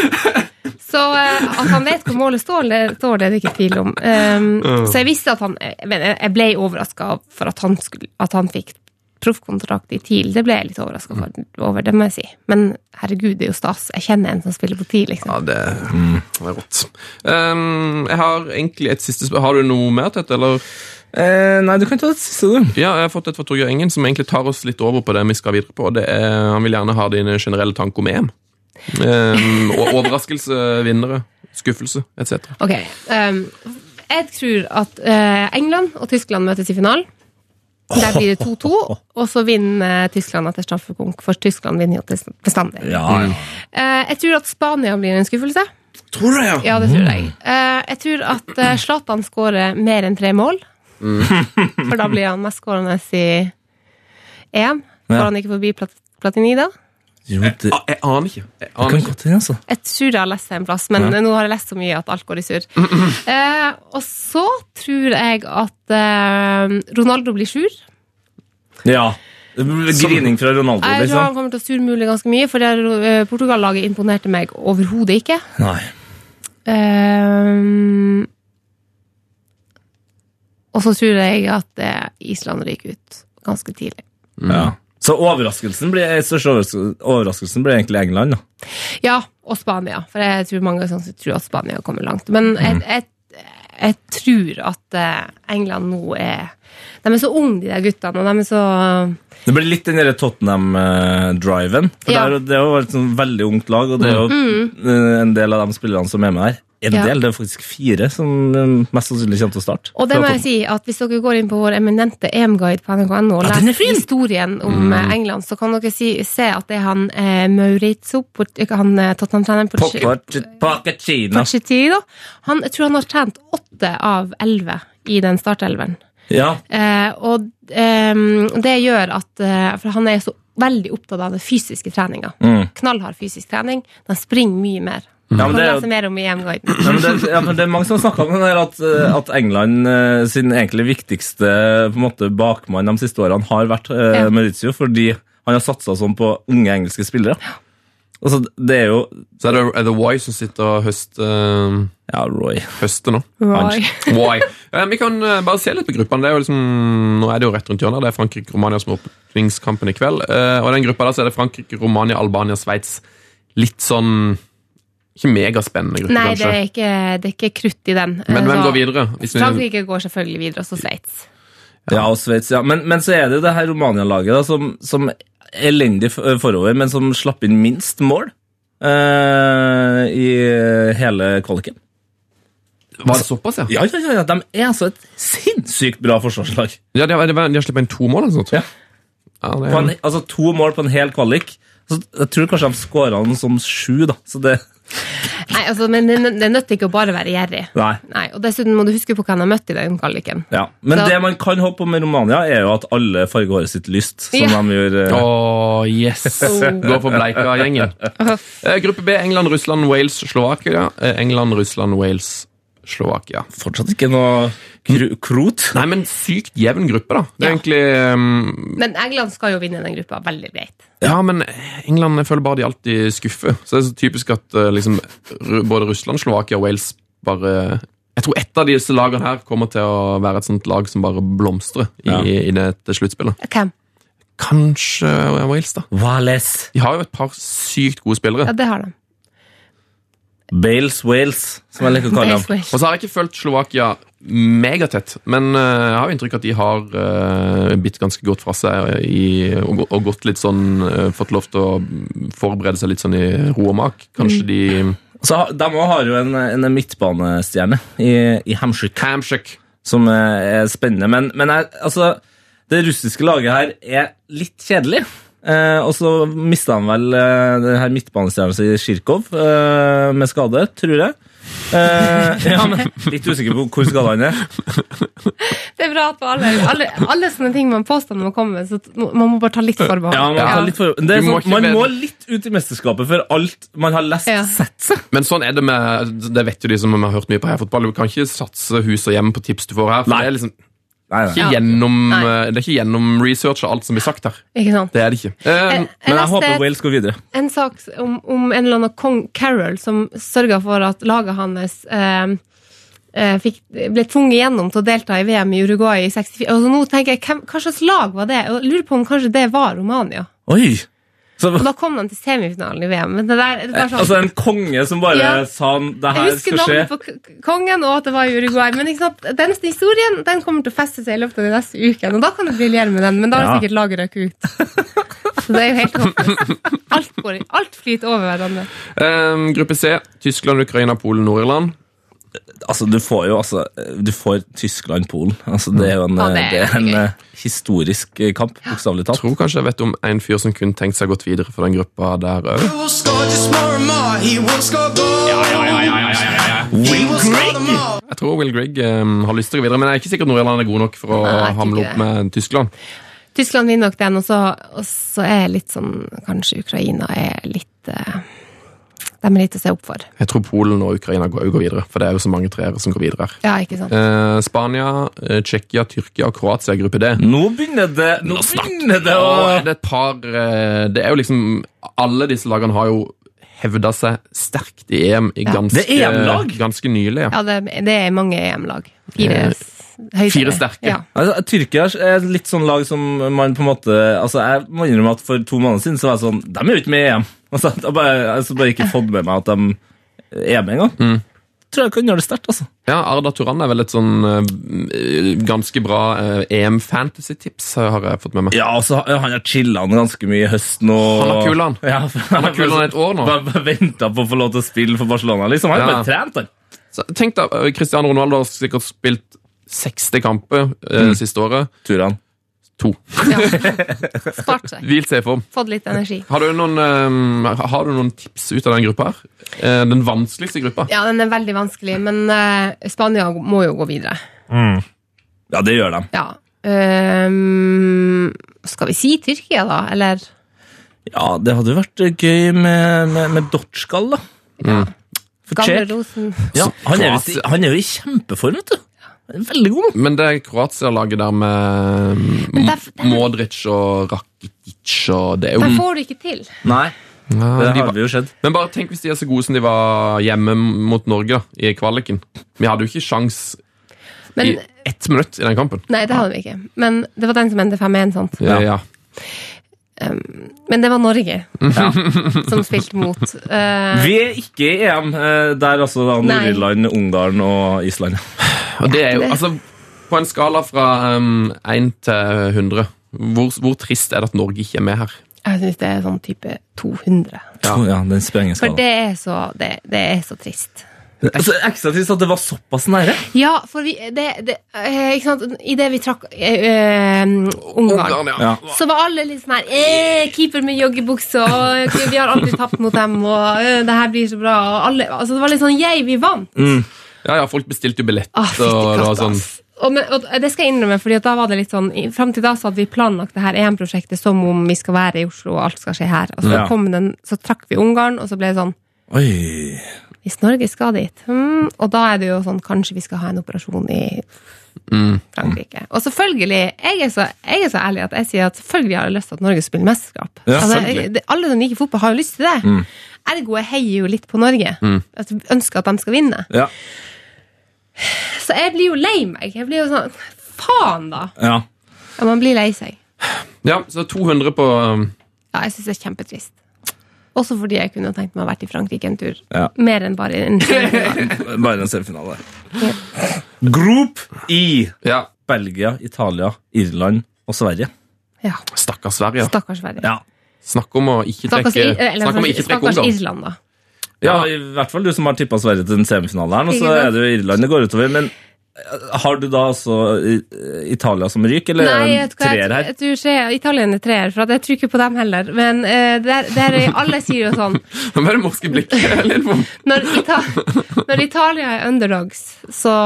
Så eh, at han vet hvor målet står, det, står det er det ikke tvil om. Ehm, Så jeg visste at han Jeg, mener, jeg ble overraska for at han, skulle, at han fikk proffkontrakt i TIL. Det ble jeg litt overraska over, det må jeg si. Men herregud, det er jo stas. Jeg kjenner en som spiller på TIL, liksom. Ja, det, Mm. det er rått. Ehm, jeg har egentlig et siste spørsmål. Har du noe mer til dette, eller? Eh, nei, du kan ta det siste, du. Ja, jeg har fått et fra Torgeir Engen som egentlig tar oss litt over på det vi skal videre på. og Det er, han vil gjerne ha dine generelle tanker om EM. Ehm, og overraskelse, vinnere, skuffelse etc. Ok. ehm, jeg tror at eh, England og Tyskland møtes i finalen. Der blir det 2-2, og så vinner eh, Tyskland etter straffekonk, for Tyskland vinner jo til- bestandig. Ja, ja. Eh, jeg tror at Spania blir en skuffelse. Tror jeg, Ja, det tror jeg. Eh, jeg tror at eh, Zlatan skårer mer enn tre mål. For da blir han mestskårende i EM. Får Ja. han ikke forbi Plat- Platini da? Jo, det Ah, jeg aner ikke. Jeg aner kan ikke. godt hende, altså. Jeg tror jeg har lest det en plass, men nå har jeg lest så mye at alt går i surr. Eh, og så tror jeg at eh, Ronaldo blir sur. Ja. Grining fra Ronaldo, Jeg tror han liksom. kommer til å surmule ganske mye, for det eh, Portugal-laget imponerte meg overhodet ikke. Nei. Eh, og så tror jeg at eh, Island ryker ut ganske tidlig. Ja. Så overraskelsen blir, største overras- overraskelsen blir egentlig England, da. Ja, og Spania. For jeg tror mange sånn, sett tror at Spania kommer langt. Men Mm. jeg, jeg, jeg tror at eh, England nå er De er så unge, de der guttene. Og de er så Det blir litt den der Tottenham-driven. For Ja. Mm. der, det har jo vært et sånn veldig ungt lag, og det er jo eh, en del av de spillerne som er med der. En Ja. del, det er faktisk fire som eh, mest sannsynlig kommer til å starte. Og det Fra må jeg Tottenham. si, at hvis dere går inn på vår eminente EM-guide på nrk.no og Ja, den er leser fin! Mm. historien om eh, England, så kan dere si, se at det er han eh, Maurizio Port- ikke, Han eh, Tottenham-treneren Poch- Pocket- Pocket China. Pochettino, han, jeg tror han har trent åtte av elleve i den startelveren. Ja, Eh, og ehm, det gjør at eh, For han er så veldig opptatt av den fysiske treninga. Mm. Knallhard fysisk trening. De springer mye mer. ja, men Kan det er jo lese mer om i EM-guiden. Ja, men det, ja, men det er mange som snakker om det der at, eh, at England eh, sin egentlig viktigste på en måte, bakmann de siste årene har vært eh, Ja. Maurizio, fordi han har satsa sånn på unge engelske spillere. Altså, det er jo Så er det er det Why som sitter og høster, eh, Ja, Roy. høster nå. Roy. Why? Eh, vi kan eh, bare se litt på gruppene. Det er jo liksom, nå er det jo rett rundt hjørnet. Det er Frankrike-Romania som er åpningskampen i kveld. Eh, og i den gruppa der så er det Frankrike, Romania, Albania, Sveits. Litt sånn Ikke megaspennende gruppe, Nei, det kanskje. er, ikke, det er ikke krutt i den. Eh, Men hvem Så går videre? Hvis vi, Frankrike går selvfølgelig videre, også Sveits. Ja, og Sveits, ja. Men, men så er det jo det her Romania-laget da, som, som er elendig f- eh, forover, men som slapp inn minst mål eh, i hele kvaliken. var det såpass, ja? Ja, ja, ja, ja, de er altså et sinnssykt bra forsvarslag. ja de, har- de, har- de har sluppet inn to mål eller noe sånt? Ja. Ja, det på en, er, altså to mål på en hel kvalik. Så jeg tror kanskje de skåra den som sju, da. Så det Nei, altså, men det, det nytter ikke å bare være gjerrig. Nei. Nei, og dessuten må du huske på hvem de møtte i den kvaliken. Ja. Men Så- det man kan håpe på med Romania, er jo at alle farger håret sitt lyst, som Ja. de gjør eh, Åh, yes! Oh. Går for Bleika-gjengen. Eh, gruppe B, England, Russland, Wales, Slovakia. Eh, England, Russland, Wales, Slovakia. Fortsatt ikke noe kru krot. Nei, men sykt jevn gruppe, da. Det er Ja. egentlig ehm, Men England skal jo vinne den gruppa, veldig greit. Ja, men England jeg føler bare de alltid skuffer. Så det er så typisk at eh, liksom, Ru- både Russland, Slovakia og Wales bare Jeg tror ett av disse lagene her kommer til å være et sånt lag som bare blomstrer i, Ja. i dette sluttspillet. Hvem? Kanskje Wales, da. Wales. De har jo et par sykt gode spillere. Ja, det har de. Bales Wales, som jeg liker å kalle dem. Wales. Og så har jeg ikke fulgt Slovakia megatett, men eh, jeg har jo inntrykk av at de har eh, bitt ganske godt fra seg i, og, gå- og gått litt sånn eh, Fått lov til å forberede seg litt sånn i ro og mak. Kanskje de Så ha- de også har jo en, en midtbanestjerne i, i Hamshik. Hamshik. som eh, er spennende. Men, men jeg, altså, det russiske laget her er litt kjedelig. Eh, og så mista han vel eh, den her midtbanestjerna si Sjirkov eh, med skade, tror jeg. Eh, ja, men Litt usikker på hvor skada han er. Det er bra at på alle, alle, alle sånne ting man påstår når man kommer med, så t- må- man må bare ta litt forbehold. Ja, man, Ja. Litt for, det er Du må sånn, ikke man vende- må litt ut i mesterskapet for alt man har lest. Ja. Men sånn er det med Det vet jo de som har hørt mye på herfotball. Du kan ikke satse hus og hjem på tips du får her. For Nei. det er liksom ikke Nei, nei. Ja. gjennom Nei. eh, Det er ikke gjennom research av alt som blir sagt her. Ikke sant? Det er det ikke. Eh, Jeg, jeg Men jeg leste håper Wales går videre. en sak om, om en eller annen kong Carol som sørga for at laget hans eh, eh, fikk, ble tvunget gjennom til å delta i VM i Uruguay i altså, 64. Og så nå tenker jeg, hvem, Hva slags lag var det? Og jeg lurer på om kanskje det var Romania. Oi! Så, Og da kom de til semifinalen i VM. Men det der, det der sånn, altså en konge som bare Ja. sa det jeg her husker skal skje. navnet på k- k- kongen og at det var i Uruguay, men ikke sant? den historien den kommer til å feste seg i løpet av de neste ukene. Og da kan det briljere med den, men da har Ja. sikkert laget røket ut. Så det er jo helt håpløst. Alt, går- alt flyter over hverandre. Eh, gruppe C. Tyskland, Ukraina, Polen, Nord-Irland. Altså, du får jo altså Du får Tyskland-Polen. Altså, det er jo en, Ja, det det er er en gøy. eh, historisk eh, kamp, bokstavelig talt. Tror kanskje jeg vet om en fyr som kunne tenkt seg gått videre for den gruppa der òg. He will score just more and more. He will score goals. He will score them all. Jeg tror Will Grigg eh, har lyst til å gå videre, men jeg er ikke sikker Nord-Irland er god nok for å Nei, jeg tror hamle ikke opp med Tyskland. Tyskland vinner nok den, og så, og så er litt sånn Kanskje Ukraina er litt eh, De er litt å se opp for. Jeg tror Polen og Ukraina går, går videre, for det er jo så mange treere som går videre her. Ja, ikke sant? Eh, Spania, eh, Tsjekkia, Tyrkia og Kroatia, gruppe D. Nå begynner det Nå begynner det å Og er det et par eh, Det er jo liksom Alle disse lagene har jo hevda seg sterkt i EM i ganske, Det er EM-lag? ganske nylig. Ja. Ja, det, det er mange EM-lag. Fire, Eh, s- høyere. fire sterke. Ja. altså, Tyrkia er et litt sånn lag som man på en måte Altså, Jeg må innrømme at for to måneder siden så var jeg sånn De er jo ikke med i EM. Altså, jeg har bare, altså, bare ikke fått med meg at de er med engang. Tror jeg kan gjøre det sterkt, altså. Arda Turan er vel et sånn eh, ganske bra eh, EM-fantasy-tips, eh, har jeg fått med meg. Ja, altså, han har chilla ganske mye i høsten. Og... Han har kul, han. Ja, han har kul, han, et år nå. Bare, bare venta på å få lov til å spille for Barcelona. liksom. Han har Ja. bare trent, han. Så, tenk da, eh, Cristiano Ronaldo har sikkert spilt 60 kamper eh, Mm. siste året. Tror han. To. Spart seg. Hvilt seg i form. Fått litt energi. Har du, noen, eh, har du noen tips ut av den gruppa her? Eh, den vanskeligste gruppa? Ja, den er veldig vanskelig, men eh, Spania må jo gå videre. Ja, det gjør de. Ja. Ehm, skal vi si Tyrkia, da? Eller? Ja, det hadde jo vært eh, gøy med, med, med Dotskal, da. For Gamle Czech. Rosen. Ja, han, er visst i- han er jo i kjempeform, vet du. Han er veldig god nå. Men det Kroatia-laget der med Men der- der- Modric og Rakitic og det er jo Den får du ikke til. Nei, Ja, det de har var, vi jo sett. Men bare tenk hvis de er så gode som de var hjemme mot Norge da, i kvaliken. Vi hadde jo ikke sjans i Men, ett minutt i den kampen. nei, det hadde vi ikke. Men det var den som endte 5-1, sant? Ja. ja. Men det var Norge som spilte mot. eh, Vi er ikke i EM. eh, Der altså da Nei. Nord-Irland, Ungarn og Island. Og det er jo, altså, på en skala fra um, 1 til 100, hvor, hvor trist er det at Norge ikke er med her? jeg syns det er sånn type 200. Ja, ja den sprenger For skalaen. det er så, det, det er så trist. Altså, ekstra trist at det var såpass nære. Ja, for vi, det, det, eh, ikke sant? i det vi trakk eh, eh, Ungarn, ja. Ja. så var alle litt sånn her eh, Keeper med joggebukse, og ok, vi har aldri tapt mot dem, og eh, det her blir så bra. Og alle, altså, det var litt sånn yeah, vi vant. Ja, ja, folk bestilte jo billett, Ah, og fytti Mm. det var katta, sånn... ass. Og, men, og det skal jeg innrømme, fordi at da var det litt sånn i- Fram til da så hadde vi planlagt det her EM-prosjektet som om vi skal være i Oslo, og alt skal skje her. Og så, Ja. kom den, så trakk vi Ungarn, og så ble det sånn Oi. Hvis Norge skal dit hmm, Og da er det jo sånn Kanskje vi skal ha en operasjon i Frankrike. Og selvfølgelig, jeg er, så, jeg er så ærlig at jeg sier at selvfølgelig har jeg lyst til at Norge spiller mesterskap. Ja, altså, selvfølgelig. det, alle som liker fotball, har jo lyst til det. Ergo jeg heier jo litt på Norge. At jeg ønsker at de skal vinne. Ja. Så jeg blir jo lei meg. Jeg blir jo sånn Faen, da! ja. Ja, man blir lei seg. Ja, så 200 på... Um, Ja, jeg syns det er kjempetrist. Også fordi jeg kunne tenkt meg å vært i Frankrike en tur. Ja. Mer enn bare en tur. Bare en semifinale. Group I. ja, Belgia, Italia, Irland og Sverige. Ja. stakkars Sverige. Stakkars Sverige. Ja. Snakk om å ikke trekke, Stakkars, I- eller, snakk om å ikke trekke stakkars Ungarn. Irland, da. i hvert fall du som har tippa Sverige til en semifinale her, nå, så Ikke sant? er det jo Irland det går utover. Men eh, har du da også eh, Italia som ryk, eller Nei, er jeg, det en tror- jeg, treer tror- her? jeg tror ikke Italien er treer, for at jeg tror ikke på dem heller. Men eh, der, der er, alle sier jo sånn Hva er det morske blikket? Lindbom? når, Ita når Italia er underdogs, så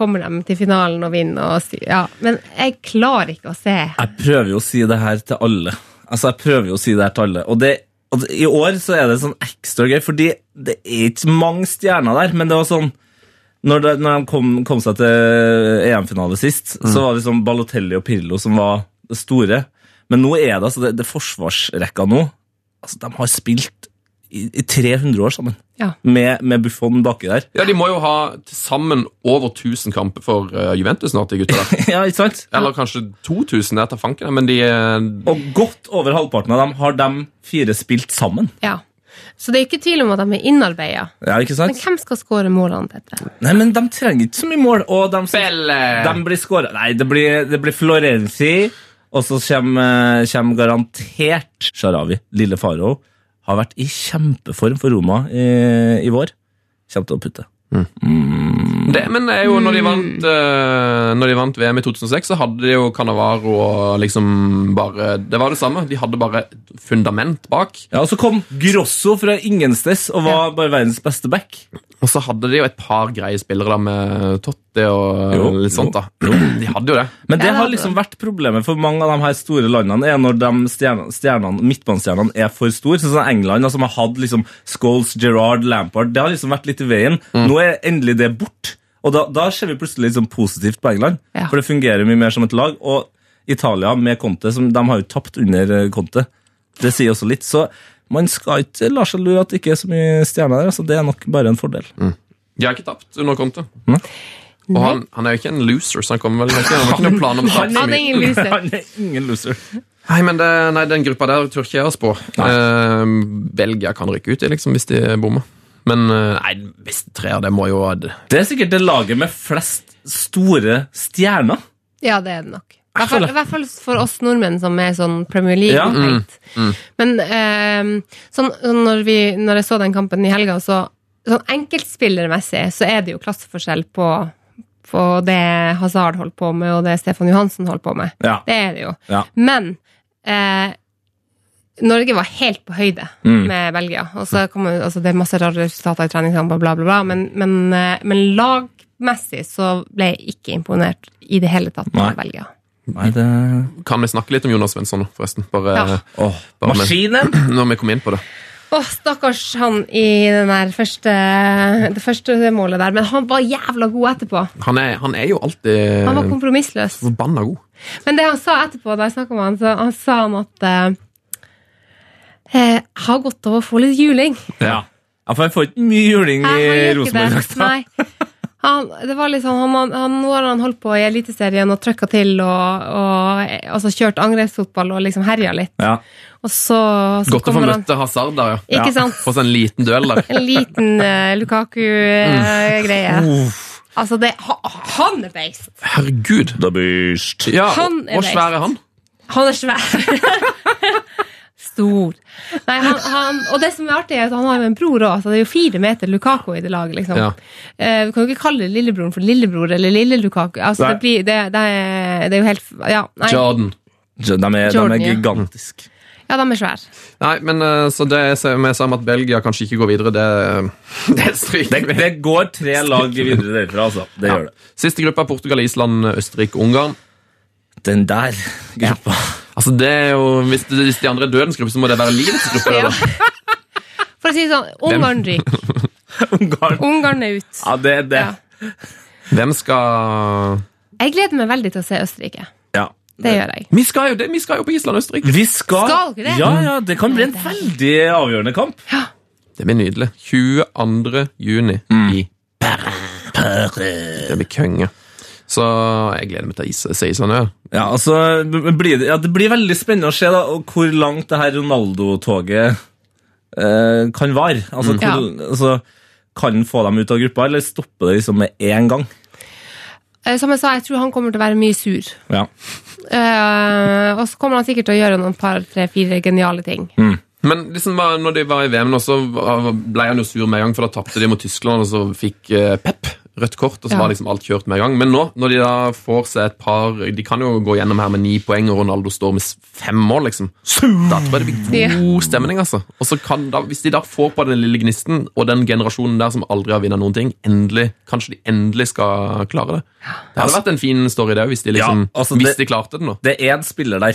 kommer de til finalen og vinner. Og si- ja. Men jeg klarer ikke å se. Jeg prøver jo å si det her til alle. Altså, jeg prøver jo å si det her til alle. Og det, og det- i år så er det sånn ekstra gøy, fordi det er ikke mange stjerner der, men det var sånn Når, det, når de kom, kom seg til EM-finale sist, så var det liksom Balotelli og Pirlo som var det store. Men nå er det altså det, det forsvarsrekka nå. Altså, de har spilt i i 300 år sammen. Ja. Med, med Buffon baki der. Ja, De må jo ha til sammen over 1000 kamper for eh, Juventus snart, de gutta der. ja, ikke sant? Eller kanskje 2000, jeg tar fanken, men de eh, Og godt over halvparten av dem har de fire spilt sammen. Ja. Så det er ikke tvil om at de er innarbeida. Ja, ikke sant? Men hvem skal skåre målene til dette? Nei, men de trenger ikke så mye mål. Og de, som- eh, de blir skåret. Nei, det blir, det blir Florenzi, og så kommer, eh, kommer garantert Sharawi. Lille Faro har vært i kjempeform for Roma i, i vår. Kommer til å putte. det, Men det er jo når de, vant, eh, når de vant VM i 2006, så hadde de jo Canavaro og liksom bare Det var det samme. De hadde bare et fundament bak. Ja, Og så kom Grosso fra ingensteds og var bare verdens beste back. Og så hadde de jo et par greie spillere da med Totti og Jo, litt sånt. da. De hadde jo det. Men det Ja, det har hadde liksom vært problemet for mange av de her store landene, er når de stjernene, stjernene, midtbanestjernene er for store. Sånn som England, da, som har hatt liksom Scholes, Gerrard, Lampard. Det har liksom vært litt i veien. Mm. Nå er endelig det bort. Og da, da ser vi plutselig liksom positivt på England, Ja. for det fungerer mye mer som et lag. Og Italia med Conte, som de har jo tapt under eh, Conte. Det sier også litt. Så man skal ikke la seg lure at det ikke er så mye stjerner der. Altså, det er nok bare en fordel. Mm. De har ikke tapt under Conte. Og han, han er jo ikke en loser, så han kommer vel han har ikke noen plan om å tape så Han er mye. ingen loser. Han er ingen loser. Nei, men det, nei, den gruppa der tør ikke jeg oss på. Eh, Belgia kan rykke ut i, liksom, hvis de bommer. Men eh, nei, hvis de trer, det må jo det- Det er sikkert det laget med flest store stjerner. Ja, det er det nok. I hvert fall, i hvert fall for oss nordmenn som er sånn Premier League. Ja. tenkt. Men ehm, sånn, sånn når, vi, når jeg så den kampen i helga, så sånn enkeltspillermessig så er det jo klasseforskjell på, på det Hazard holdt på med, og det Stefan Johansen holdt på med. Ja. Det er det jo. Ja. Men eh, Norge var helt på høyde Mm. med Belgia. Og så kom, altså, det er masse rare resultater i treningskamper, bla, bla, bla. Men, men, eh, men lagmessig så ble jeg ikke imponert i det hele tatt Nei. av Belgia. Nei, det... Kan vi snakke litt om Jonas Svensson, nå, forresten? Bare, Ja. Åh, Bare med- maskinen! Når vi kom inn på det. Å, stakkars han i den der første, det første målet der. Men han var jævla god etterpå. Han er, han er jo Han Eh. var alltid eh, kompromissløs. forbanna god. Men det han sa etterpå, da jeg snakka med han, så han sa han at eh, eh, har godt av å få litt juling. Ja. ja, for jeg får ikke mye juling i Nei, han gjør ikke det. Rosenborg-drakta. Nei. Han, det var liksom, han, han, nå har han holdt på i Eliteserien og trøkka til og, og altså, kjørt angrepsfotball og liksom herja litt. Ja. Og så, så Godt å få kommer han møte Hazard der, ja. Ikke Ja. sant? Få seg en liten duell der. En liten eh, Mm. Lukaku-greie. altså, det ha- Han er beist! Herregud! The Beast. Ja, Han er og, og svær er han. Han er svær. Stor. Nei, han, han, og det som er artig, er at han har jo en bror òg. Det er jo fire meter Lukako i det laget. liksom. Ja. Eh, du kan jo ikke kalle lillebroren for lillebror eller lille Lukaku. Altså, Nei. det, blir, det, det, er, det er jo helt Ja, nei, Jordan. De er, de Jordan, er ja. gigantiske. ja de er svære. Nei, men eh, så det jeg sa- jeg sa om at Belgia kanskje ikke går videre, det, det Det, stryker vi. det går tre lag videre derfra, altså. Det gjør det. Siste gruppa Portugal, Island, Østerrike, Ungarn. Den der gruppa. Altså det er jo, Hvis, det, hvis de andre er dødens gruppe, så må det være livets gruppe. det Ja. da. For å si det sånn, Ungarn ryker. Ungarn. Ungarn er ut. Ja, det er det. Ja. Hvem skal Jeg gleder meg veldig til å se Østerrike. Ja. Det gjør jeg. Vi skal jo, det, vi skal jo på Island og Østerrike! Vi skal, Skal dere det? Ja, ja, det kan bli en veldig avgjørende kamp. Det blir nydelig. 22. juni i Perre. Det blir konge. Så jeg gleder meg til å is- se Island òg. Ja, altså, b- blir det, ja, det blir veldig spennende å se da, og hvor langt det her Ronaldo-toget eh, kan vare. Altså, hvor, altså, kan den få dem ut av gruppa, eller stoppe det liksom med én gang? Eh, Som jeg sa, jeg tror han kommer til å være mye sur. Ja. Eh, og så kommer han sikkert til å gjøre noen par, tre, fire geniale ting. Men liksom bare når de var i VM nå, så var- ble han jo sur med en gang, for da tapte de mot Tyskland, og så fikk eh, Pep rødt kort, og så Ja. var liksom alt kjørt med en gang. Men nå, når de da får seg et par De kan jo gå gjennom her med ni poeng, og Ronaldo står med s- fem mål, liksom. Da tror jeg det blir god stemning, altså. Og så kan da, Hvis de da får på den lille gnisten, og den generasjonen der som aldri har vunnet noen ting, endelig, kanskje de endelig skal klare det. Det hadde vært en fin story, det òg, hvis, de liksom, Altså- Ja, altså, det- hvis de klarte det nå. Det er en spiller der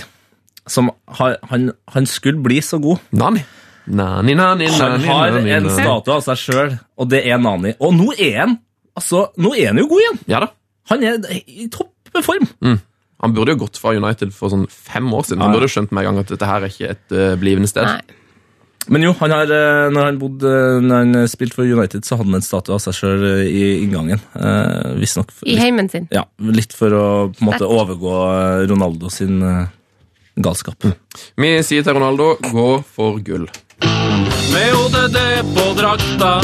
som har, han, han skulle bli så god. Nani. Nani, nani, nani, Han har nani, en nani. statue av seg sjøl, og det er Nani. Og nå er han altså, nå er han jo god igjen! Ja da. Han er i toppform. Han burde jo gått fra United for sånn fem år siden. Han Ja, ja. burde jo skjønt med en gang at dette her er ikke et eh, blivende sted. Nei. Men jo, han har, eh, når han, bodde, når han eh, spilte for United, så hadde han en statue av seg sjøl i inngangen. Eh, Visstnok I heimen sin. ja, litt for å på en måte Sterkt. overgå eh, Ronaldo sin eh, galskap. Vi sier til Ronaldo gå for gull. med ODD på drakta.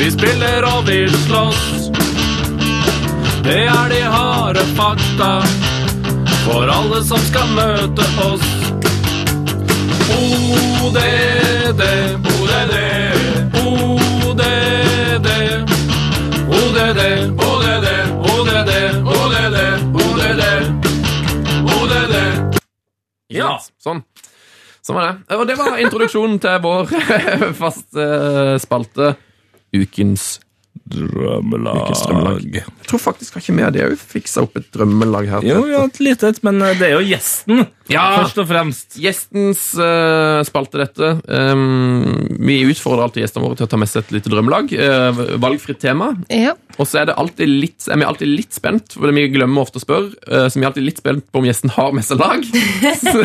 Vi spiller og vi slåss. Det er de harde fakta for alle som skal møte oss. ODD, ODD, ODD. ODD, ODD, ODD, ODD, ODD. ODD. Ja. Sånn. Sånn var det. Og det var introduksjonen til vår faste spalte Ukens Drømmelag. drømmelag. Jeg tror faktisk har ikke vi det òg fiksa opp et drømmelag her. Jo, ja, et lite et, men eh, det er jo gjesten, Ja. først og fremst. Gjestens eh, spalte, dette. Ehm, vi utfordrer alltid gjestene våre til å ta med seg et lite drømmelag. eh, valgfritt tema. Ja. Og så er, det alltid litt, er vi alltid litt spent, for vi glemmer ofte å spørre. eh, Så vi er alltid litt spent på om gjesten har med seg lag. Så,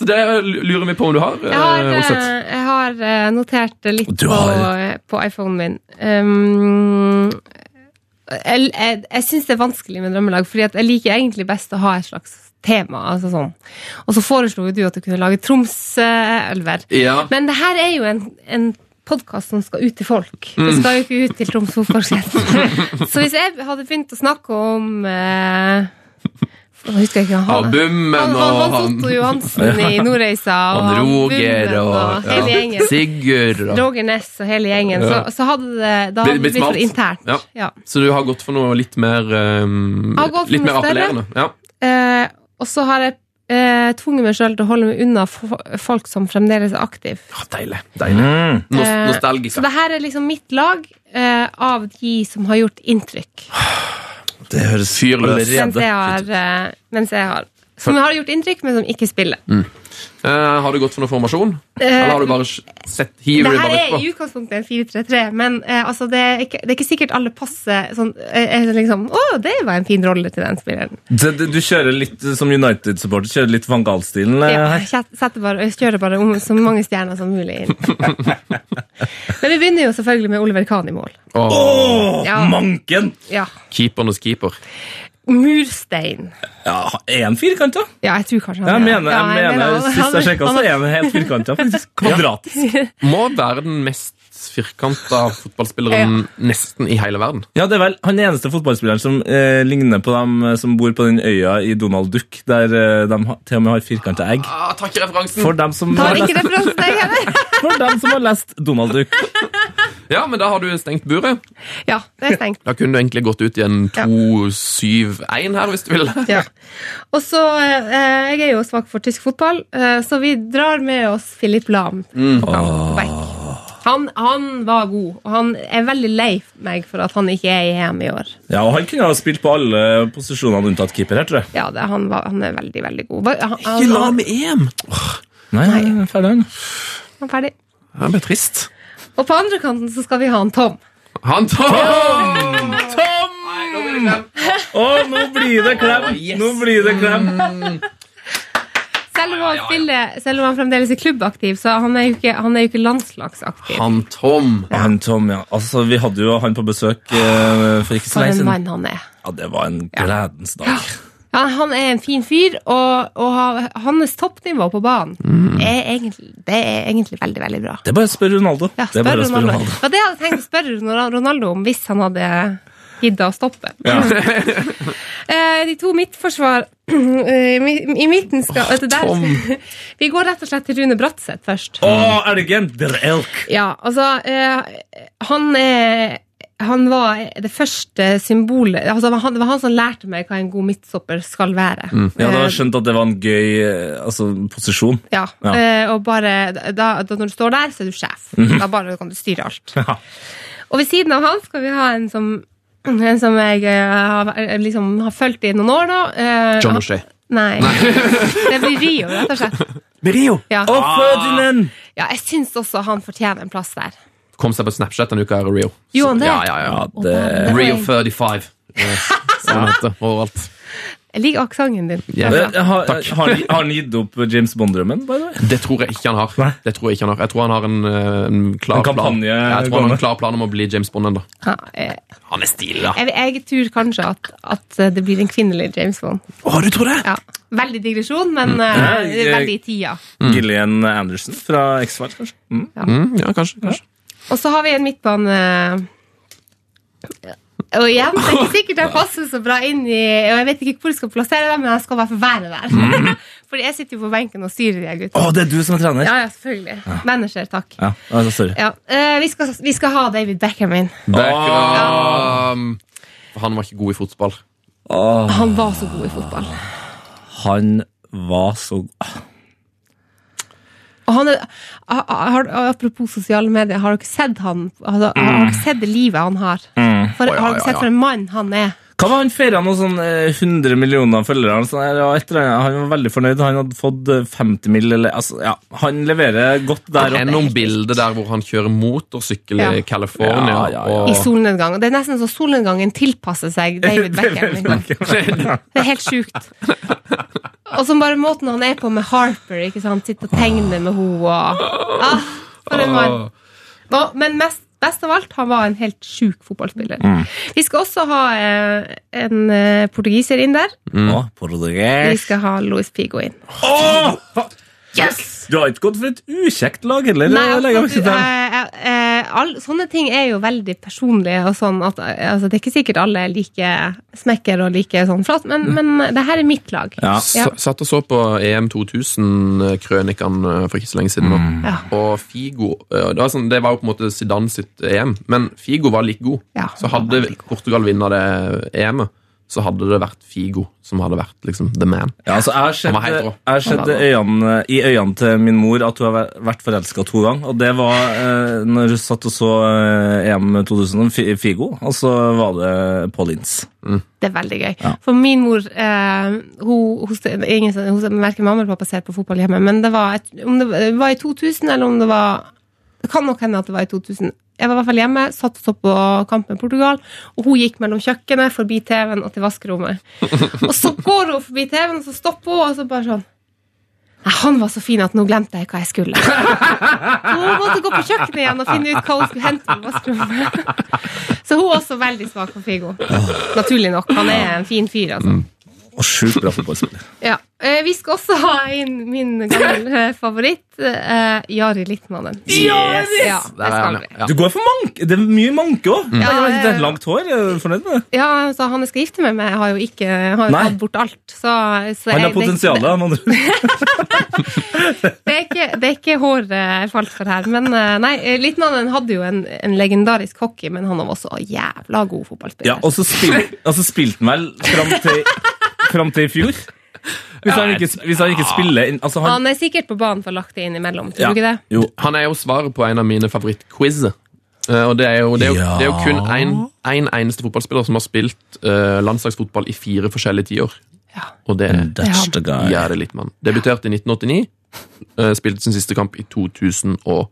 så det lurer vi på om du har. eh, Jeg har, eh, Olseth. jeg har eh, notert litt Du på, har- eh, på iPhonen min. Um, jeg jeg, jeg syns det er vanskelig med drømmelag, Fordi at jeg liker egentlig best å ha et slags tema. Altså sånn. Og så foreslo jo du at du kunne lage Troms-elver. Ja. Men det her er jo en, en podkast som skal ut til folk. Det skal jo ikke ut til Troms Fotballkrets. så hvis jeg hadde begynt å snakke om eh, nå husker jeg ikke hva han Albummen han, og han, han han, Otto Johansen i Nordreisa og han Roger Bunnen og, hele ja, gjengen. Sigurd og Roger Ness og hele gjengen. Ja. Så, så hadde det da Blir- hadde det blir blitt for smalt. internt. Ja. Ja. Så du har gått for noe litt mer ehm, Har gått for Litt mer noe større. appellerende? Ja. Eh, og så har jeg eh, tvunget meg sjøl til å holde meg unna fo- folk som fremdeles er aktive. Ah, deilig. deilig. Nos Eh, nostalgisk. Så det her er liksom mitt lag eh, av de som har gjort inntrykk. Det høres Fyr løs. allerede Mens jeg har, eh, mens jeg har Som har gjort inntrykk, men som ikke spiller. Eh, har du gått for noe formasjon? Eh, Eller har du bare sett hiver Det du her bare er utpå? i utgangspunktet en 4-3-3, men eh, altså, det, er ikke, det er ikke sikkert alle passer sånn eh, eh, liksom, Å, det var en fin rolle til den spilleren. Det, det, du kjører litt eh, som United-supporter, kjører litt Van Gaal-stilen. eh, Ja, her. jeg setter bare, jeg kjører bare om så mange stjerner som mulig inn. Men vi begynner jo selvfølgelig med Oliver Kahn i mål. Åh, Åh, Ja. manken! Ja. Keepernes keeper. Murstein. Ja, er han firkanta? Ja, jeg tror kanskje Jeg han er det. mener, jeg Ja, mener han- sist jeg sjekka, han- så er han helt firkanta, faktisk. Kvadratisk. Må være den mest firkanta fotballspilleren nesten i hele verden. Ja, det er vel han eneste fotballspilleren som eh, ligner på dem eh, som bor på den øya i Donald Duck, der eh, de ha, til og med har firkanta egg. Ah, tar ikke referansen! For dem, som Tar har ikke lest, referansen, jeg heller. for dem som har lest Donald Duck. Ja, men da har du stengt buret. Ja, det er stengt. Da kunne du egentlig gått ut i en 2-7-1 her, hvis du ville. Ja. Og så, eh, Jeg er jo svak for tysk fotball, eh, så vi drar med oss Filip Lahm. På back. Han, han var god, og han er veldig lei meg for at han ikke er i EM i år. Ja, og Han kunne ha spilt på alle posisjonene unntatt keeper her, tror jeg. Ja, det, han, var, han er veldig, veldig god. Hva- Han, Ikke han, han, med EM! Nei, ferdig han. han er ferdig. Det ble trist. Og på andre kanten så skal vi ha han Tom. Han Tom! Tom! Å, nå blir det klem! Nå blir det klem. Mm. Selv om han, spiller, selv om han fremdeles er klubbaktiv, så han er jo ikke, han er jo ikke landslagsaktiv. Han Tom. Han Tom, ja. Altså, Vi hadde jo han på besøk eh, for ikke så Ah, For lenge en siden. mann han er. Ja, Det var en gledens dag. Ja, han er en fin fyr, og, og ha- hans toppnivå på banen Mm. er egentlig, det er egentlig veldig, veldig bra. Det er bare å spørre Ronaldo. det Ja, er spør bare å spørre Ronaldo. Ronaldo. Det var det jeg hadde tenkt å spørre Ronal- Ronaldo om hvis han hadde giddet å stoppe. Eh, De to midtforsvar eh, mi- I midten skal vet du, der- Vi går rett og slett til Rune Bratseth først. Å, elgen! Drelk! Ja, altså eh, Han er han var det første symbolet altså, han- Det var han som lærte meg hva en god midtstopper skal være. Jeg hadde Eh, skjønt at Mm. det var en gøy eh, altså, posisjon. Ja, Ja. eh, og bare, da, da, når du står der, så er du sjef. Mhm. Da bare kan du styre alt. Ja. Og ved siden av han skal vi ha en som, en som jeg eh, har, liksom, har fulgt i noen år, da. Eh, John han- O'Shea. Nei. Det blir Rio, rett og slett. Rio! Ja. Å, Ferdinand! ja, jeg syns også han fortjener en plass der. Kom seg på Snapchat denne uka her, Rio. Gjorde han det? Ja, ja, Ja, ja. det... Det var Rio en- 35. eh, Som han heter overalt. Jeg liker aksenten din. Ja. Det er bra. Eh, Har, Takk. har, han- har han gitt opp James Bond-drømmen? by the way? Det tror jeg ikke han har. Nei. Det tror Jeg ikke han har Jeg tror han har en, eh, en klar En plan kampanje Ja, Jeg tror han har en klar plan om å bli James Bond ennå. Ja, eh, Han er stilig, da. jeg, jeg tror kanskje at, at eh, det blir en kvinnelig James Bond. Å, du tror det? Mm. Ja. Veldig digresjon, men eh, Nei, det er jeg- veldig i tida. Mm. Gillian Anderson fra X-Files, kanskje? Mm. Mm, ja, kanskje. kanskje. Og så har vi en midtbane Og igjen, det er ikke sikkert jeg passer så bra inn i Og jeg vet ikke hvor jeg skal plassere dem, men jeg skal i hvert fall være Mm. der. Fordi jeg sitter jo på benken og styrer de her gutta. Å, det er du som er trener? Ja, ja, selvfølgelig. Manager, takk. Ja, altså, sorry. Ja, eh, vi, skal, vi skal ha David Beckham inn. Beckham. Um, Han var ikke god i fotball. Han var så god i fotball. Han var så Ah. Og han er, har, har, apropos sosiale medier, har dere sett han? Altså, Har dere sett det livet han har? For, Mm. Å, ja, har dere ja, sett ja. for en mann han er? Hva var han feira noe sånn eh, 100 millioner følgere? eller Sånn, der, og etter, det, han var veldig fornøyd. Han hadde fått eh, 50 mill. Eller, altså, ja, han leverer godt der Enn òg. noen bilder der hvor han kjører motorsykkel Ja. i California. Ja, ja, ja. I Og solnedgang. Og Det er nesten så solnedgangen tilpasser seg David Beckham. Liksom. Det er helt sjukt. Og så bare måten han er på med Harper, ikke sant? Sitter og tegner med henne og ah, For en mann. Hva- Men mest, best av alt, han var en helt sjuk fotballspiller. Vi skal også ha eh, en eh, portugiser inn der. Å, Vi portugis. skal ha Luis Figo inn. Å! Yes! Du har ikke gått for et ukjekt lag heller? Nei, jeg legger merke altså, til det. eh, eh, all, sånne ting er jo veldig personlige. Og sånn at, eh, altså, det er ikke sikkert alle er like smekker og like sånn flatt, men, men det her er mitt lag. Ja. Ja. s- satt og så på E EM 2000-krønikene eh, for ikke så lenge siden. nå. Ja. Og Figo eh, det var, sånn, det var jo på en måte Zidane sitt EM, men Figo var like god. Ja, så han var hadde veldig Portugal vunnet det EM-et, så hadde det vært Figo som hadde vært liksom, the man. Ja, altså, jeg har sett, Han var helt rå. jeg har sett Han var i øynene, i øynene til min mor at hun har væ- vært forelska to ganger. Og det var eh, når hun satt og så eh, EM 2000 om Fi- Figo, og så var det Paulins. Det er veldig gøy. For min mor eh, hun, hun, det er ingen, som- hun, Verken mamma eller pappa ser på fotball hjemme, men det var, et, om det var- var i 2000, eller om det var Det kan nok hende at det var i 2000. Jeg var i hvert fall hjemme, satt og så på kamp med Portugal, og hun gikk mellom kjøkkenet, forbi TV-en og til vaskerommet. Og så går hun forbi TV-en, og så stopper hun, og så bare sånn Nei, han var så fin at nå glemte jeg hva jeg skulle. Så hun måtte gå på kjøkkenet igjen og finne ut hva hun skulle hente på vaskerommet. Så hun er også veldig svak for Figo. Naturlig nok. Han er en fin fyr, altså. Mm. Og sjukt bra fotballspiller. Ja. Eh, Vi skal også ha inn min gamle eh, favoritt, eh, Jari Litmanen. Yes! Ja, det er skal han, vi. ja. Du går for manke. Det er mye manke òg. Ja, det ja. er langt hår. Er du fornøyd med det? Ja, så han jeg skal gifte meg med, har jo ikke har jo Nei. tatt bort alt. Så, så Han jeg- har potensial. Det, han andre. det, er ikke, det er ikke hår eh, jeg falt for her. Men eh, nei, eh, Litmanen hadde jo en, en legendarisk hockey, men han var også jævla god Ja, fotballspiller. og så spil- og så spilte han vel fram til, fram til i fjor. Hvis han ikke, hvis han ikke spiller inn- altså han, Han er sikkert på banen for å ha lagt det innimellom, tror Ja. du ikke det? Jo. Han er jo svaret på en av mine favorittquizer. Eh, og det er, jo, det, er jo, Ja. det er jo kun én en, en eneste fotballspiller som har spilt eh, landslagsfotball i fire forskjellige tiår. Ja. Og det er That's the Gjerde Littmann. Debuterte i 1989. eh, spilte sin siste kamp i 2010 eller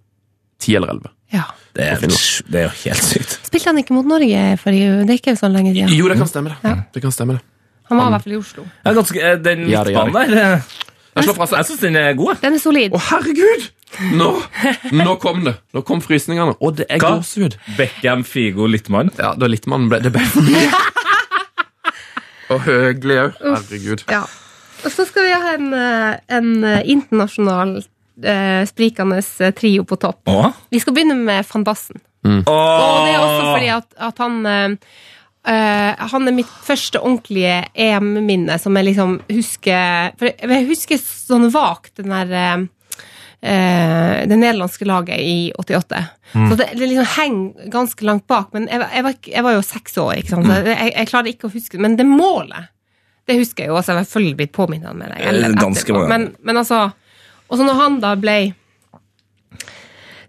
2011. Ja. Det er, det er jo helt sykt. Spilte han ikke mot Norge for det er ikke så lenge siden? Jo, det kan stemme, det. det, kan stemme det. Han var i hvert fall i Oslo. Jeg er ganske, eh, den Ja, det gjør midtbanen der eh, Jeg altså. slår fra seg. Jeg syns den er god. jeg. Den er solid. Å, herregud! Nå, nå kom det. Nå kom frysningene. Og det er Hva? gåsehud. Beckham, Figo, Littmann. Ja, da Littmann ble det ble for mye. Og Høgli òg. Herregud. Ja. Og så skal vi ha en, eh, en eh, internasjonal eh, sprikende eh, trio på topp. Åh. Vi skal begynne med van Bassen. Og det er også fordi at, at han eh, eh, han er mitt første ordentlige EM-minne som jeg liksom husker For jeg jeg husker sånn vagt den der eh, eh, det nederlandske laget i 88. Så det, det liksom henger ganske langt bak. Men jeg, var- jeg, var, ikke- jeg var jo seks år, ikke sant? så jeg, jeg klarer ikke å huske det. Men det målet, det husker jeg jo. Altså, jeg har selvfølgelig blitt påminnet om det. eller Eh, ganske etterpå. mange. Men, men altså Og så når han da ble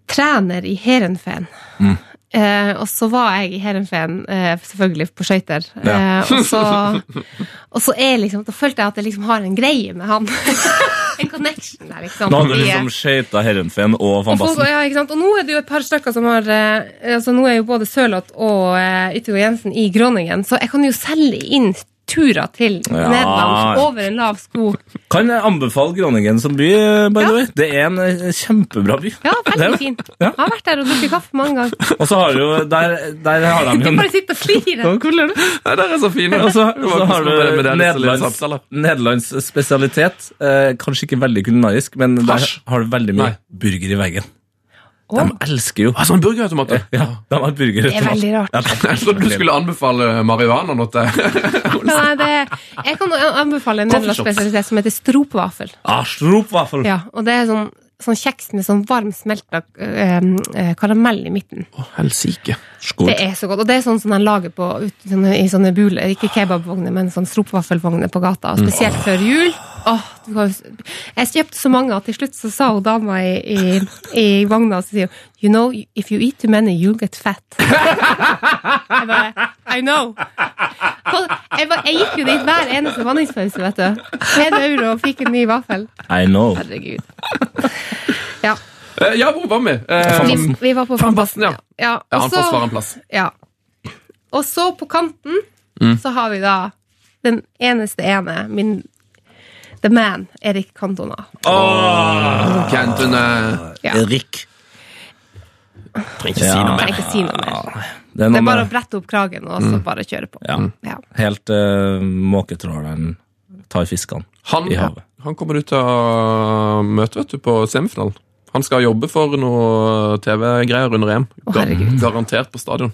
trener i Heerenveen Mm. Eh, og så var jeg i Heerenveen, eh, selvfølgelig på skøyter. Ja. Eh, og, så- og så er liksom, da følte jeg at jeg liksom har en greie med han. en connection der, ikke sant. Nå hadde du Vi, eh, liksom skøyta Herrenfen og van og, folk- Basten. ja, ikke sant? og nå er det jo et par stykker som har eh, altså Nå er jo både Sørloth og eh, Yttergård Jensen i Groningen, så jeg kan jo selge inn turer til Ja. nedlangs over en lav sko. Kan jeg anbefale Groningen som by, by the Ja. way. Det er en eh, kjempebra by. Ja, veldig Det- fint. Ja. Jeg har vært der og drukket kaffe mange ganger. Og så har du jo Der, der har de jo en Bare sitte og flire. Hvordan er det? Nei, der er så fine. Og så, Det var så har koselig med det- med det litt du sånn Nederlands, samtaler. Nederlands spesialitet. Eh, kanskje ikke veldig kulinarisk, men der Hasj. har du veldig mye Nei. burger i veggen. Å. De elsker jo Ah, sånn burgerautomat. du. ja, de har burger Det er veldig rart. Jeg trodde du skulle anbefale marihuana nå til Nei, det, jeg kan anbefale en nederlandsk Coffee shops. spesialitet som heter stropvaffel. Ah, Stropvaffel! Ja, og det er sånn, sånn kjeks med sånn varm smelta eh, eh, karamell i midten. Å, Helsike. Det er så godt. Og det er sånn som de lager på, ut, sånne, i sånne buler. Ikke kebabvogner, men sånn stropvaffelvogner på gata. Og spesielt før jul. Åh, du kan, jo s- jeg kjøpte så mange at til slutt så sa hun dama i, i, i vogna så sier hun, You know, if you eat too many, you'll get fat. Jeg bare I know. Så Jeg, bare, jeg gikk jo dit hver eneste vanningspause, vet du. En euro og fikk en ny vaffel. I know. Herregud. Ja. Eh, Ja, hvor var vi? Vi, Eh, vi var på Fanbassen, ja. Ja, Ja, og han så- får svare en plass. Mm. ja. Og så på kanten så har vi da den eneste ene, min The Man, Erik Cantona. Cantona. Ja. Erik. Trenger ikke si noe Kan mer. jeg ikke si noe mer. Det er Det er noe bare å med brette opp kragen og Mm. så bare kjøre på. ja, Ja. Helt uh, måketråleren tar fiskene i Han, havet. han kommer du til å møte vet du, på semifinalen. Han skal jobbe for noe TV-greier under EM. Gar- herregud. Garantert på stadion.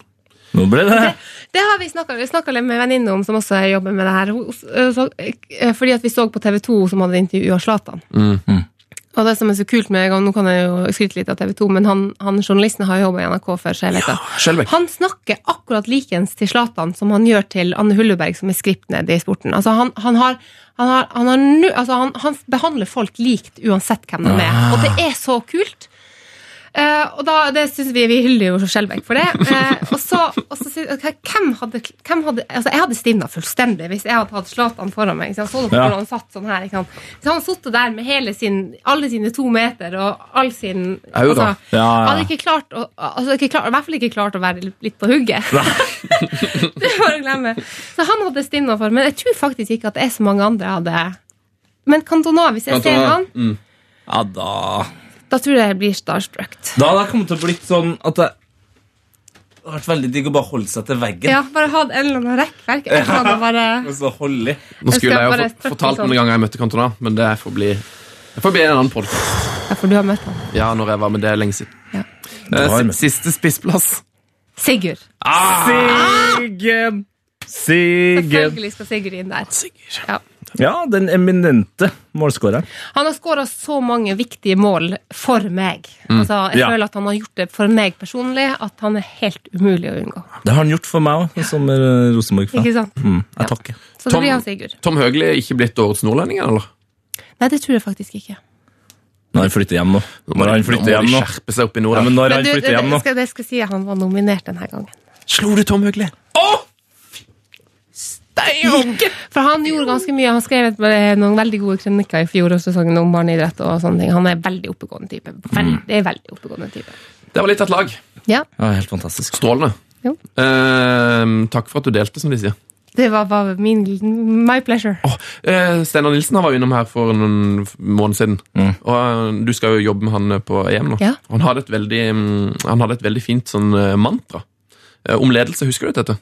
Nå ble det Det har vi snakka, vi snakket litt med en venninne om, som også jobber med det her. Hun- øh, så- øh, Fordi at vi så på TV 2 som hadde intervju av Zlatan. Mm. Og det som er så kult med Nå kan jeg jo skryte litt av TV 2, men han, han journalisten har jobba i NRK før. Så jeg vet det. Skjelbæk. Han snakker akkurat likens til Zlatan som han gjør til Anne Hulleberg, som er skript ned i sporten. Altså, han, han har han, har, han, har, nu- altså han, han behandler folk likt uansett hvem de er. Og det er så kult. Eh, og da, det synes vi, vi hyller jo Skjelbæk for det. Eh, og så, og så sier- ok, hvem hadde, hvem hadde altså Jeg hadde stivna fullstendig hvis jeg hadde hatt Zlatan foran meg. Ikke sant? Så dere Ja. hvordan han satt sånn her, ikke sant? Hvis han satt der med hele sin, alle sine to meter og all sin Aura. altså, Ja, ja. Hadde ikke klart å, altså, ikke klart, I hvert fall ikke klart å være litt på hugget. det er bare å glemme. Så han hadde stivna for, men jeg tror faktisk ikke at det er så mange andre jeg hadde Men Cantona, hvis jeg ser Cantona, han, Ja, da da tror jeg jeg blir starstruck. Da hadde jeg kommet til å blitt sånn at det det hadde vært veldig digg å bare holde seg til veggen. Ja, bare ha en eller annen rekkverk. Et eller annet bare Og så holde i. Nå skulle skal jeg jo bare fått- trøtte fortalt sånn. noen ganger jeg møtte Cantona, men det får bli, det får bli en annen podkast. Ja, for du har møtt han. Ja, når jeg var med det lenge siden. Ja. Eh, var med. si- Siste spissplass. Sigurd. Siggen! Siggen. Selvfølgelig skal Sigurd inn der. Sigurd. Ja. Ja, den eminente målskåreren. Han har skåra så mange viktige mål for meg. Altså, Mm. jeg Ja. føler at han har gjort det for meg personlig at han er helt umulig å unngå. Det har han gjort for meg òg, som eh, Rosenborg-fan. Ikke sant? Mm, jeg takker. Så Tom- det blir han Sigurd. Tom Høgli er ikke blitt årets nordlending, eller? Nei, det tror jeg faktisk ikke. Når han flytter hjem nå. Når han Nå flytter hjem må de nå. skjerpe seg opp i nord. Ja, da. men når Men han du, det, flytter hjem nå det, skal, det skal si at han var nominert denne gangen. Slo du Tom Høgli? For han gjorde ganske mye. Han skrev et, eh, noen veldig gode kronikker i fjorårssesongen om barneidrett og sånne ting. Han er en veldig oppegående type. Veldig, veldig oppegående type. Det var litt av et lag. Ja, ja, Helt fantastisk. Strålende. Jo. Eh, takk for at du delte, som de sier. det var bare min My pleasure. Oh, eh, Steinar Nilsen han var jo innom her for noen f- måneder siden. Og eh, Du skal jo jobbe med han eh, på EM nå. Ja. Han, hadde et veldig, mm, han hadde et veldig fint sånn eh, mantra eh, om ledelse. Husker du dette?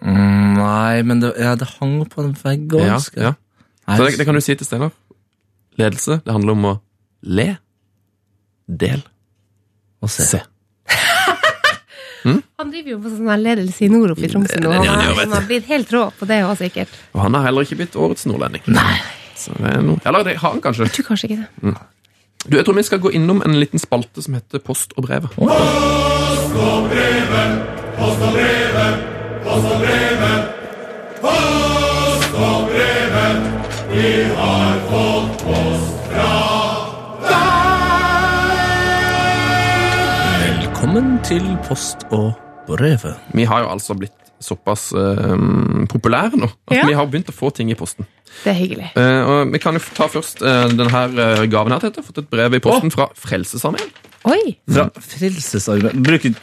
Mm, nei, men det, ja, det hang på en vegg òg. Ja, ja. Så det, det kan du si til Steinar. Ledelse, det handler om å le, del, se. Han driver jo på sånn her ledelse i nord oppe i Tromsø nå. det er det Han han gjør, er- vet han har blitt helt rå på det òg, sikkert. Jeg Og han har heller ikke blitt årets nordlending. Så det er noe. Eller det har han kanskje. tror kanskje ikke det. Du, Jeg tror vi skal gå innom en liten spalte som heter Post og brevet. Velkommen til Post og brevet. Vi har jo altså blitt såpass eh, populære nå at Ja. vi har begynt å få ting i posten. Det er hyggelig. Eh, og vi kan jo ta først eh, denne her, eh, gaven her. Tete. Jeg har fått et brev i posten fra Frelsesarmeen. Oi! Fra Frelsesarmeen. Bruker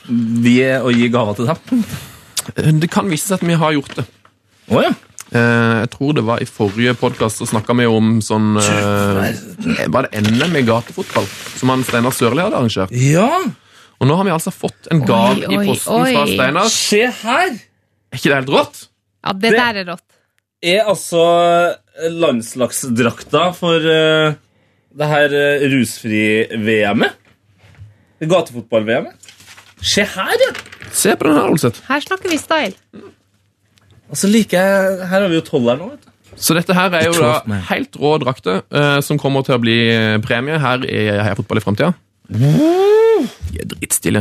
vi å gi gaver til dem? Eh, Det kan vise seg at vi har gjort det. Å ja. Eh, jeg tror det var i forrige podkast så snakka vi om sånn eh, Var det NM i gatefotball som han Steinar Sørli hadde arrangert? Ja, Og nå har vi altså fått en gave i oi, posten fra oi. Steinar. se her! Er ikke det helt rått? Ja, det Det- der er rått. Er altså landslagsdrakta for eh, det her eh, rusfri-VM-et? Gatefotball-VM-et? Se her, ja! Se på den her, Olseth. Her snakker vi style. Altså liker jeg, Her har vi jo tolleren òg, vet du. Så dette her er jo The Twelfth da Man. helt rå drakter eh, som kommer til å bli premie her i Heia Fotball i framtida. De er dritstille.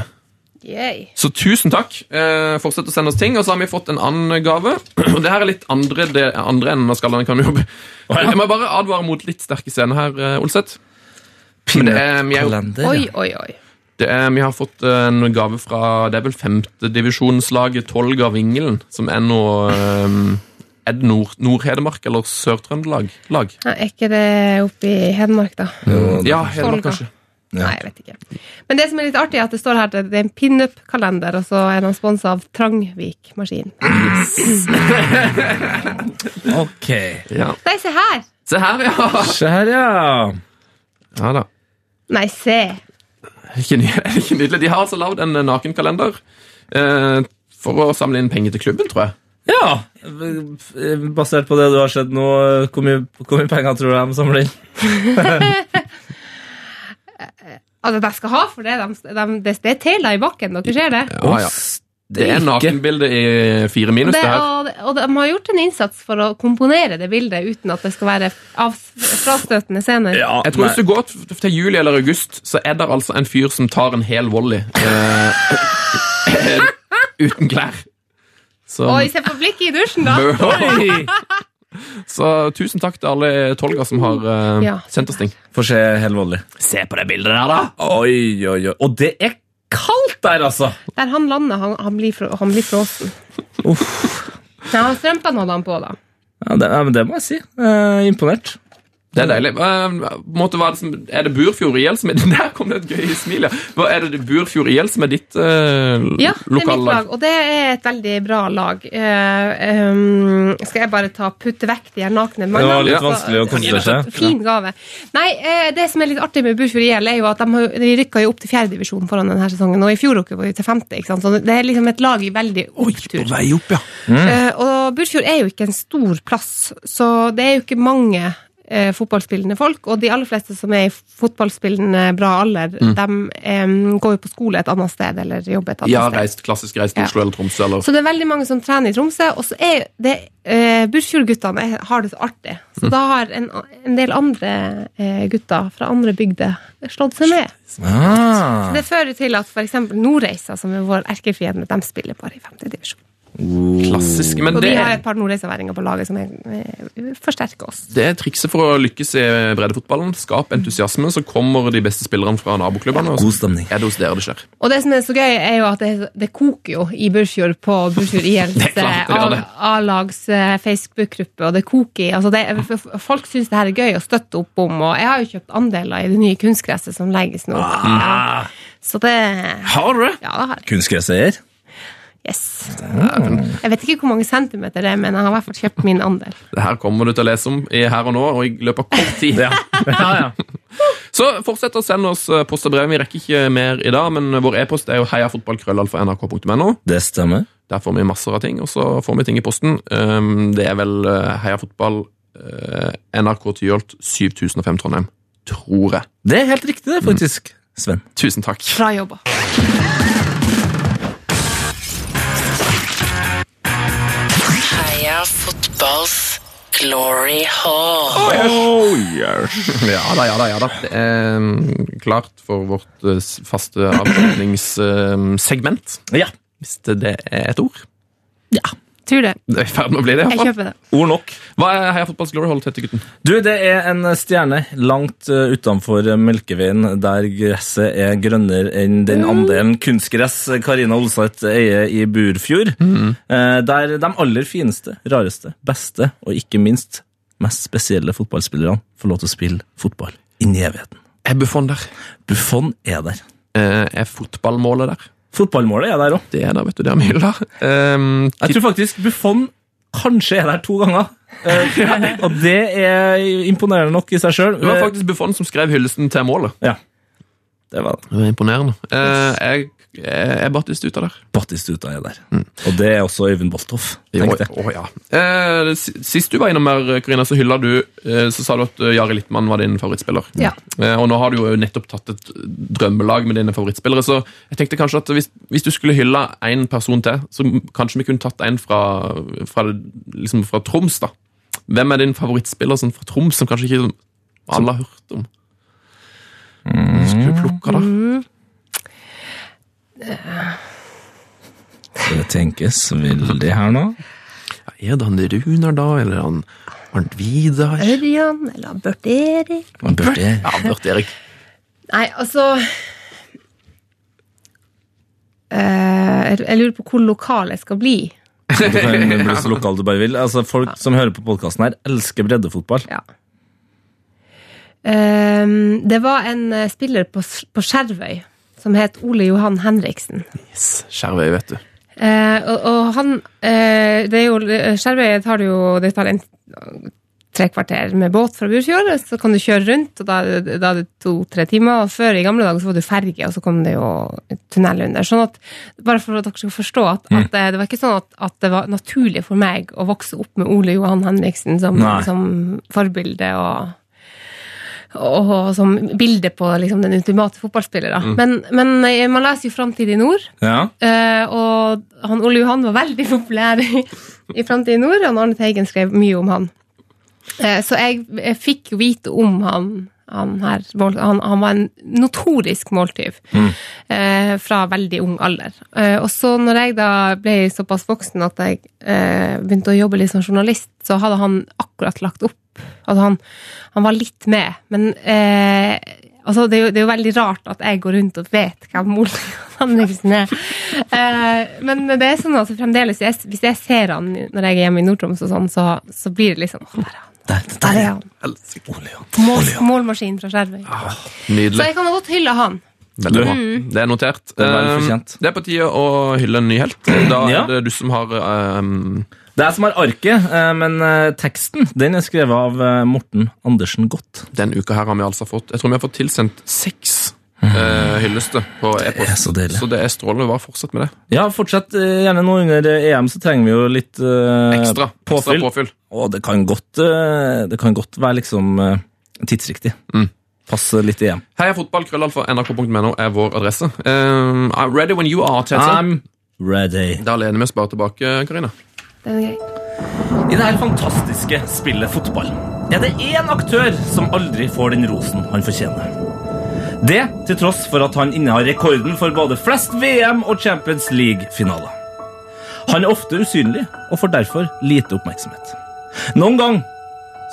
Yay. Så tusen takk. Eh, fortsett å sende oss ting. Og så har vi fått en annen gave. Og det her er litt andre, det, andre enden av skalaen. kan vi jobbe. ja. Jeg må bare advare mot litt sterke scener her, eh, Olseth. Men det er, vi, er, jo- Kalender, Oi, ja. oi, oi. det er, vi har fått eh, en gave fra det er vel femtedivisjonslaget Tolga Vingelen, som er noe eh, Er det Nord- Nord-Hedmark eller Sør-Trøndelag? Lag? Nei, Er ikke det oppe i Hedmark, da? Ja, Hedmark, Tolga. kanskje. Nei, jeg vet ikke. Men det som er litt artig, er at det står her at det er en pinup-kalender, og så er den sponsa av Trangvik Maskin. Ok. Ja. Nei, se her! Se her, ja! Se her, ja. Ja da. Nei, se. Er det ikke ny- er det ikke nydelig? De har altså lagd en eh, nakenkalender eh, for å samle inn penger til klubben, tror jeg. Ja, Basert på det du har sett nå, hvor mye, hvor mye penger tror du de samler inn? Altså, de skal ha for det. De, de, det det er tela i bakken, dere ser det? Ah, Ja, ja. Det er nakenbilde i fire minus, det det her. og, og de har gjort en innsats for å komponere det bildet uten at det skal være av, frastøtende scener. Ja, Jeg tror Hvis du går t- til juli eller august, så er det altså en fyr som tar en hel volley eh, uten klær. Så, Oi, se på blikket i dusjen, da! Oi. så tusen takk til alle tolga som har eh, Ja. sendt oss ting. Få se helt voldelig. Se på det bildet der, da! Oi, oi, oi. Og det er kaldt der, altså! Der han lander, han, han, blir, frå- han blir frossen. Ja, strømpene holder han på, da. Ja, det, ja, men det må jeg si. Eh, imponert. Det er deilig. Eh, på en måte, hva er, det som, er det Burfjord IL som er Der kom det et gøy smil, ja! Hva er det Burfjord IL som er ditt eh, Ja, det er mitt lokallag? lag, og det er et veldig bra lag. Eh, ehm, skal jeg bare ta putte vekk de her nakne Det var mannene? litt så- vanskelig å konsentrere seg. Fin gave. Nei, eh, det som er litt artig med Burfjord IL, er jo at de, har, jo- de rykka jo opp til fjerdedivisjon foran denne sesongen, og i fjor rykka vi til femte, ikke sant? så det er liksom et lag i veldig opptur. Vei opp, ja. Mm. Eh, og Burfjord er jo ikke en stor plass, så det er jo ikke mange eh, fotballspillende folk, og de aller fleste som er i fotballspillende bra alder, Mm. de em, går jo på skole et annet sted, eller jobber et annet Ja, sted. reist, klassisk reist til Oslo eller Tromsø eller Så det er veldig mange som trener i Tromsø, og så er det eh, Burfjord-guttene er- har det så artig. Så da har en, en del andre eh, gutter fra andre bygder slått seg med. Ah. Det fører til at f.eks. Nordreisa, som er vår erkefiende, de spiller bare i femte divisjon. klassisk. Men Og vi det, har et par nordreisaværinger på laget som er, eh, forsterker oss. det er trikset for å lykkes i breddefotballen. Skap entusiasme, så kommer de beste spillerne fra naboklubbene. Og God så stemning. er det hos dere det skjer. Og det som er så gøy, er jo at det, det koker jo i Burfjord på Burfjord ILs Det er klart det gjør det. eh, A- A-lags eh, Facebook-gruppe, og det koker i altså det, f- f- Folk syns det her er gøy å støtte opp om, og jeg har jo kjøpt andeler i det nye kunstgresset som legges nå. Ah. Ja. Så det Har du det? Ja, det har jeg. Kunstgresseier. Yes. Jeg vet ikke hvor mange centimeter det er, men jeg har i hvert fall kjøpt min andel. Det her kommer du til å lese om i her og nå, og i løpet av kort tid. Ja. ja, ja. Så fortsett å sende oss eh, post og brev. Vi rekker ikke mer i dag, men vår e-post er jo heiafotballkrøllalfa.nrk.no. Det stemmer. Der får vi masser av ting, og så får vi ting i posten. Um, det er vel eh, heiafotball eh, NRK Tyholt 7005 Trondheim. Tror jeg. Det er helt riktig, det, faktisk. Sven. Tusen takk. Bra jobba. Heia fotballs glory hall. Oh, Ja da, ja da, ja da. Det er mm, klart for vårt eh, s- faste avslutningssegment, eh, Ja. hvis det det er et ord. Tror det. Det er i ferd med å bli det. i hvert Jeg fall. kjøper det. Ord nok. Hva er Heia Fotballs Glory Hall, tette gutten? Du, det er en stjerne langt eh, utenfor eh, Melkeveien, der gresset er grønnere enn den andelen kunstgress Karina Olseth eier i Burfjord. Eh, Der de aller fineste, rareste, beste og ikke minst mest spesielle fotballspillerne får lov til å spille fotball inn i evigheten. Er Buffon der? Buffon er der. Eh, Er fotballmålet der? Fotballmålet er der òg. Det er der, vet du. Det er mye der. Um, Jeg tror faktisk Buffon kanskje er der to ganger. Eh, og det er imponerende nok i seg sjøl. eh, Det var faktisk Buffon som skrev hyllesten til målet. Det var Det var imponerende. Eh, jeg, eh, jeg, jeg battist ut av der. Battistuta er der. Og det er også Øyvind Bolthoff. tenkte jeg. Å, å, ja. eh, s- sist du var innom her, Karina, så hylla du eh, Så sa du at eh, Jari Littmann var din favorittspiller. Ja. Eh, og nå har du jo nettopp tatt et drømmelag med dine favorittspillere, så jeg tenkte kanskje at hvis, hvis du skulle hylle én person til, så m- kanskje vi kunne tatt en fra, fra, liksom fra Troms, da. Hvem er din favorittspiller sånn fra Troms som kanskje ikke alle har hørt om? Skulle du plukka da? Skal det tenkes veldig her nå? Er det han Runar, da? Eller han Arnt Vidar? Ørjan eller Børt Erik Man burde Ja, Bjørt Erik. Nei, altså eh, Jeg lurer på hvor lokal jeg skal bli. Du kan bli så lokal du bare vil. Altså, folk som hører på podkasten her, elsker breddefotball. Ja. Ehm, det var en eh, spiller på, S- på Skjervøy som het Ole Johan Henriksen. Skjervøy, vet du. Eh, og, og han eh, det er jo, Skjervøy tar det jo det tar en tre kvarter med båt fra Burfjord, og så kan du kjøre rundt, og da, er det- da er det to-tre timer. Og før i gamle dager så var det ferge, og så kom det jo tunnel under. Sånn at, bare for at dere skal forstå at, at eh, det var ikke sånn at, at det var naturlig for meg å vokse opp med Ole Johan Henriksen som, Nei. som forbilde og og, og som bilde på liksom, den ultimate fotballspiller. Da. Men, men eh, man leser jo 'Framtid i nord', Ja. Eh, og han Ole Johan var veldig populær i, i Framtid i Nord, og Arne Teigen skrev mye om han. Eh, så jeg, jeg fikk jo vite om han, han her. Vol- Han, han var en notorisk måltyv eh, fra veldig ung alder. Eh, og så når jeg da ble såpass voksen at jeg eh, begynte å jobbe litt som journalist, så hadde han akkurat lagt opp. Altså han, han var litt med, men eh, altså det, er jo, det er jo veldig rart at jeg går rundt og vet hvem Ole Johan Henriksen er. Eh, men det er sånn at fremdeles, jeg, hvis jeg ser han når jeg er hjemme i Nord-Troms, og sånn, så, så blir det liksom Å, der er han. Der er han. Mål, målmaskin fra Skjervøy. Så Nydelig. jeg kan godt hylle han. Veldig bra. Det er notert. er vel Um, fortjent. Det er på tide å hylle en ny helt. Da Ja. er det du som har um, Det er jeg som har arket, eh, men eh, teksten den er skrevet av eh, Morten Andersen Godt. Denne uka her har vi altså fått Jeg tror vi har fått tilsendt seks uh, hyllester på e-post. så deilig. Så det er strålende. Bare fortsett med det. Ja, fortsett eh, gjerne nå under eh, EM, så trenger vi jo litt eh, Ekstra påfyll. Ekstra påfyll. påfyll. Og det kan godt, eh, det kan godt være liksom eh, tidsriktig. Mm. Passe litt i EM. Heia fotball, krøllalfa, nrk.no er vår adresse. Um, I'm ready when you are, Tete. I'm ready. Da lener vi oss bare tilbake, Karina. Den er grei. I det her fantastiske spillet fotball er det én aktør som aldri får den rosen han fortjener. Det til tross for at han innehar rekorden for både flest VM- og Champions League-finaler. Han er ofte usynlig og får derfor lite oppmerksomhet. Noen gang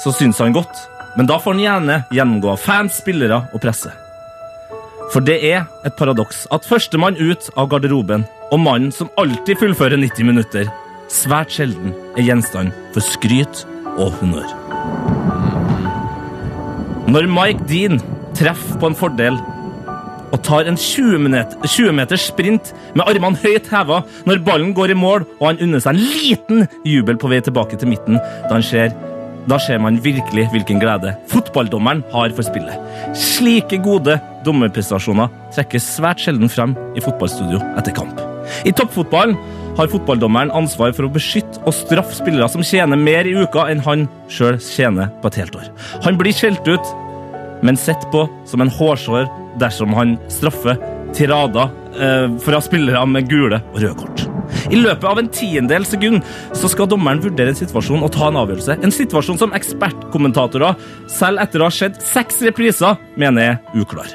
så syns han godt, men da får han gjerne gjennomgå av fans, spillere og presse. For det er et paradoks at førstemann ut av garderoben og mannen som alltid fullfører 90 minutter, svært sjelden er gjenstand for skryt og honnør. Når Mike Dean treffer på en fordel og tar en 20 meter, 20 meter sprint med armene høyt heva når ballen går i mål, og han unner seg en liten jubel på vei tilbake til midten da han ser da ser man virkelig hvilken glede fotballdommeren har for spillet. Slike gode dommerprestasjoner trekkes svært sjelden frem i fotballstudio etter kamp. I toppfotballen har fotballdommeren ansvar for å beskytte og straffe spillere som tjener mer i uka enn han sjøl tjener på et helt år. Han blir skjelt ut, men sett på som en hårsår dersom han straffer tirader eh, fra spillere med gule og røde kort. I løpet av en tiendedel sekund så skal dommeren vurdere en situasjon og ta en avgjørelse. En situasjon som ekspertkommentatorer, selv etter å ha sett seks repriser, mener er uklar.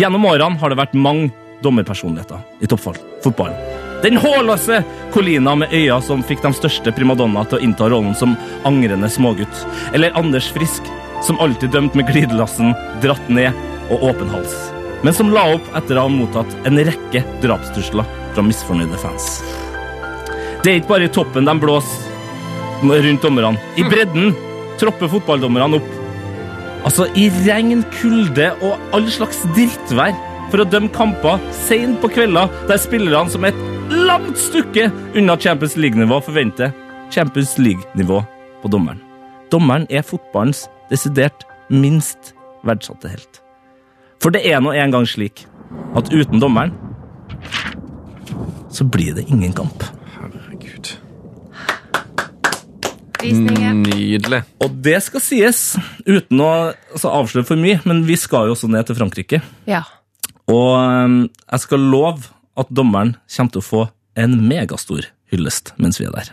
Gjennom årene har det vært mange dommerpersonligheter i toppfotballen. Den hårløse Colina med øya som fikk de største primadonna til å innta rollen som angrende smågutt. Eller Anders Frisk, som alltid dømt med glidelassen, dratt ned og åpen hals. Men som la opp etter å ha mottatt en rekke drapstrusler fra misfornøyde fans. Det er ikke bare i toppen de blåser rundt dommerne. I bredden tropper fotballdommerne opp Altså, i regn, kulde og all slags drittvær for å dømme kamper sent på kvelder der spillerne som et langt stykke unna Champions League-nivå forventer Champions League-nivå på dommeren. Dommeren er fotballens desidert minst verdsatte helt. For det er nå en gang slik at uten dommeren så blir det ingen kamp. Herregud. Prisninger. Nydelig. Og det skal sies, uten å altså, avsløre for mye, men vi skal jo også ned til Frankrike. Ja. Og eh, jeg skal love at dommeren kommer til å få en megastor hyllest mens vi er der.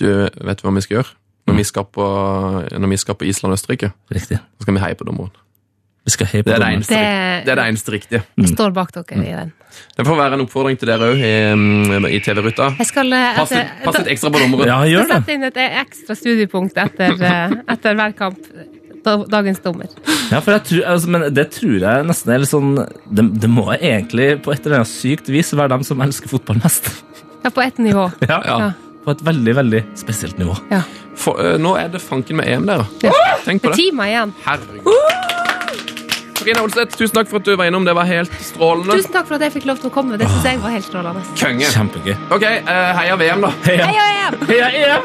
Du, vet du hva vi skal gjøre? Når vi skal på, når vi skal på Island og Østerrike, Riktig. så skal vi heie på dommeren. Vi skal heie på Det er det dommeren. eneste, Det- det er det eneste riktige. Mm. Jeg står bak dere i den. Det får være en oppfordring til dere òg i, mm, i TV-ruta. Jeg skal eh, Pass litt, etter- pass litt ekstra på dommeren. Ja, Jeg gjør det. setter inn et ekstra studiepunkt etter, eh, etter hver kamp. Da- Dagens dommer. Ja, for jeg tror, altså, men det tror jeg nesten er litt sånn det, det må jeg egentlig på et eller annet sykt vis være dem som elsker fotball mest. Ja, på ett nivå. Ja, Ja. På et veldig, veldig spesielt nivå. Ja. For, eh, nå er det fanken med EM, dere. Ja. Tenk på det. Det er timer igjen. Herregud. Karina Olseth, tusen takk for at du var innom. Det var helt strålende. Tusen takk for at jeg fikk lov til å komme. Det synes jeg var helt strålende. Konge. Kjempegøy. Ok, eh, heia VM, da. Hei og hjem! Heia EM!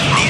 Ny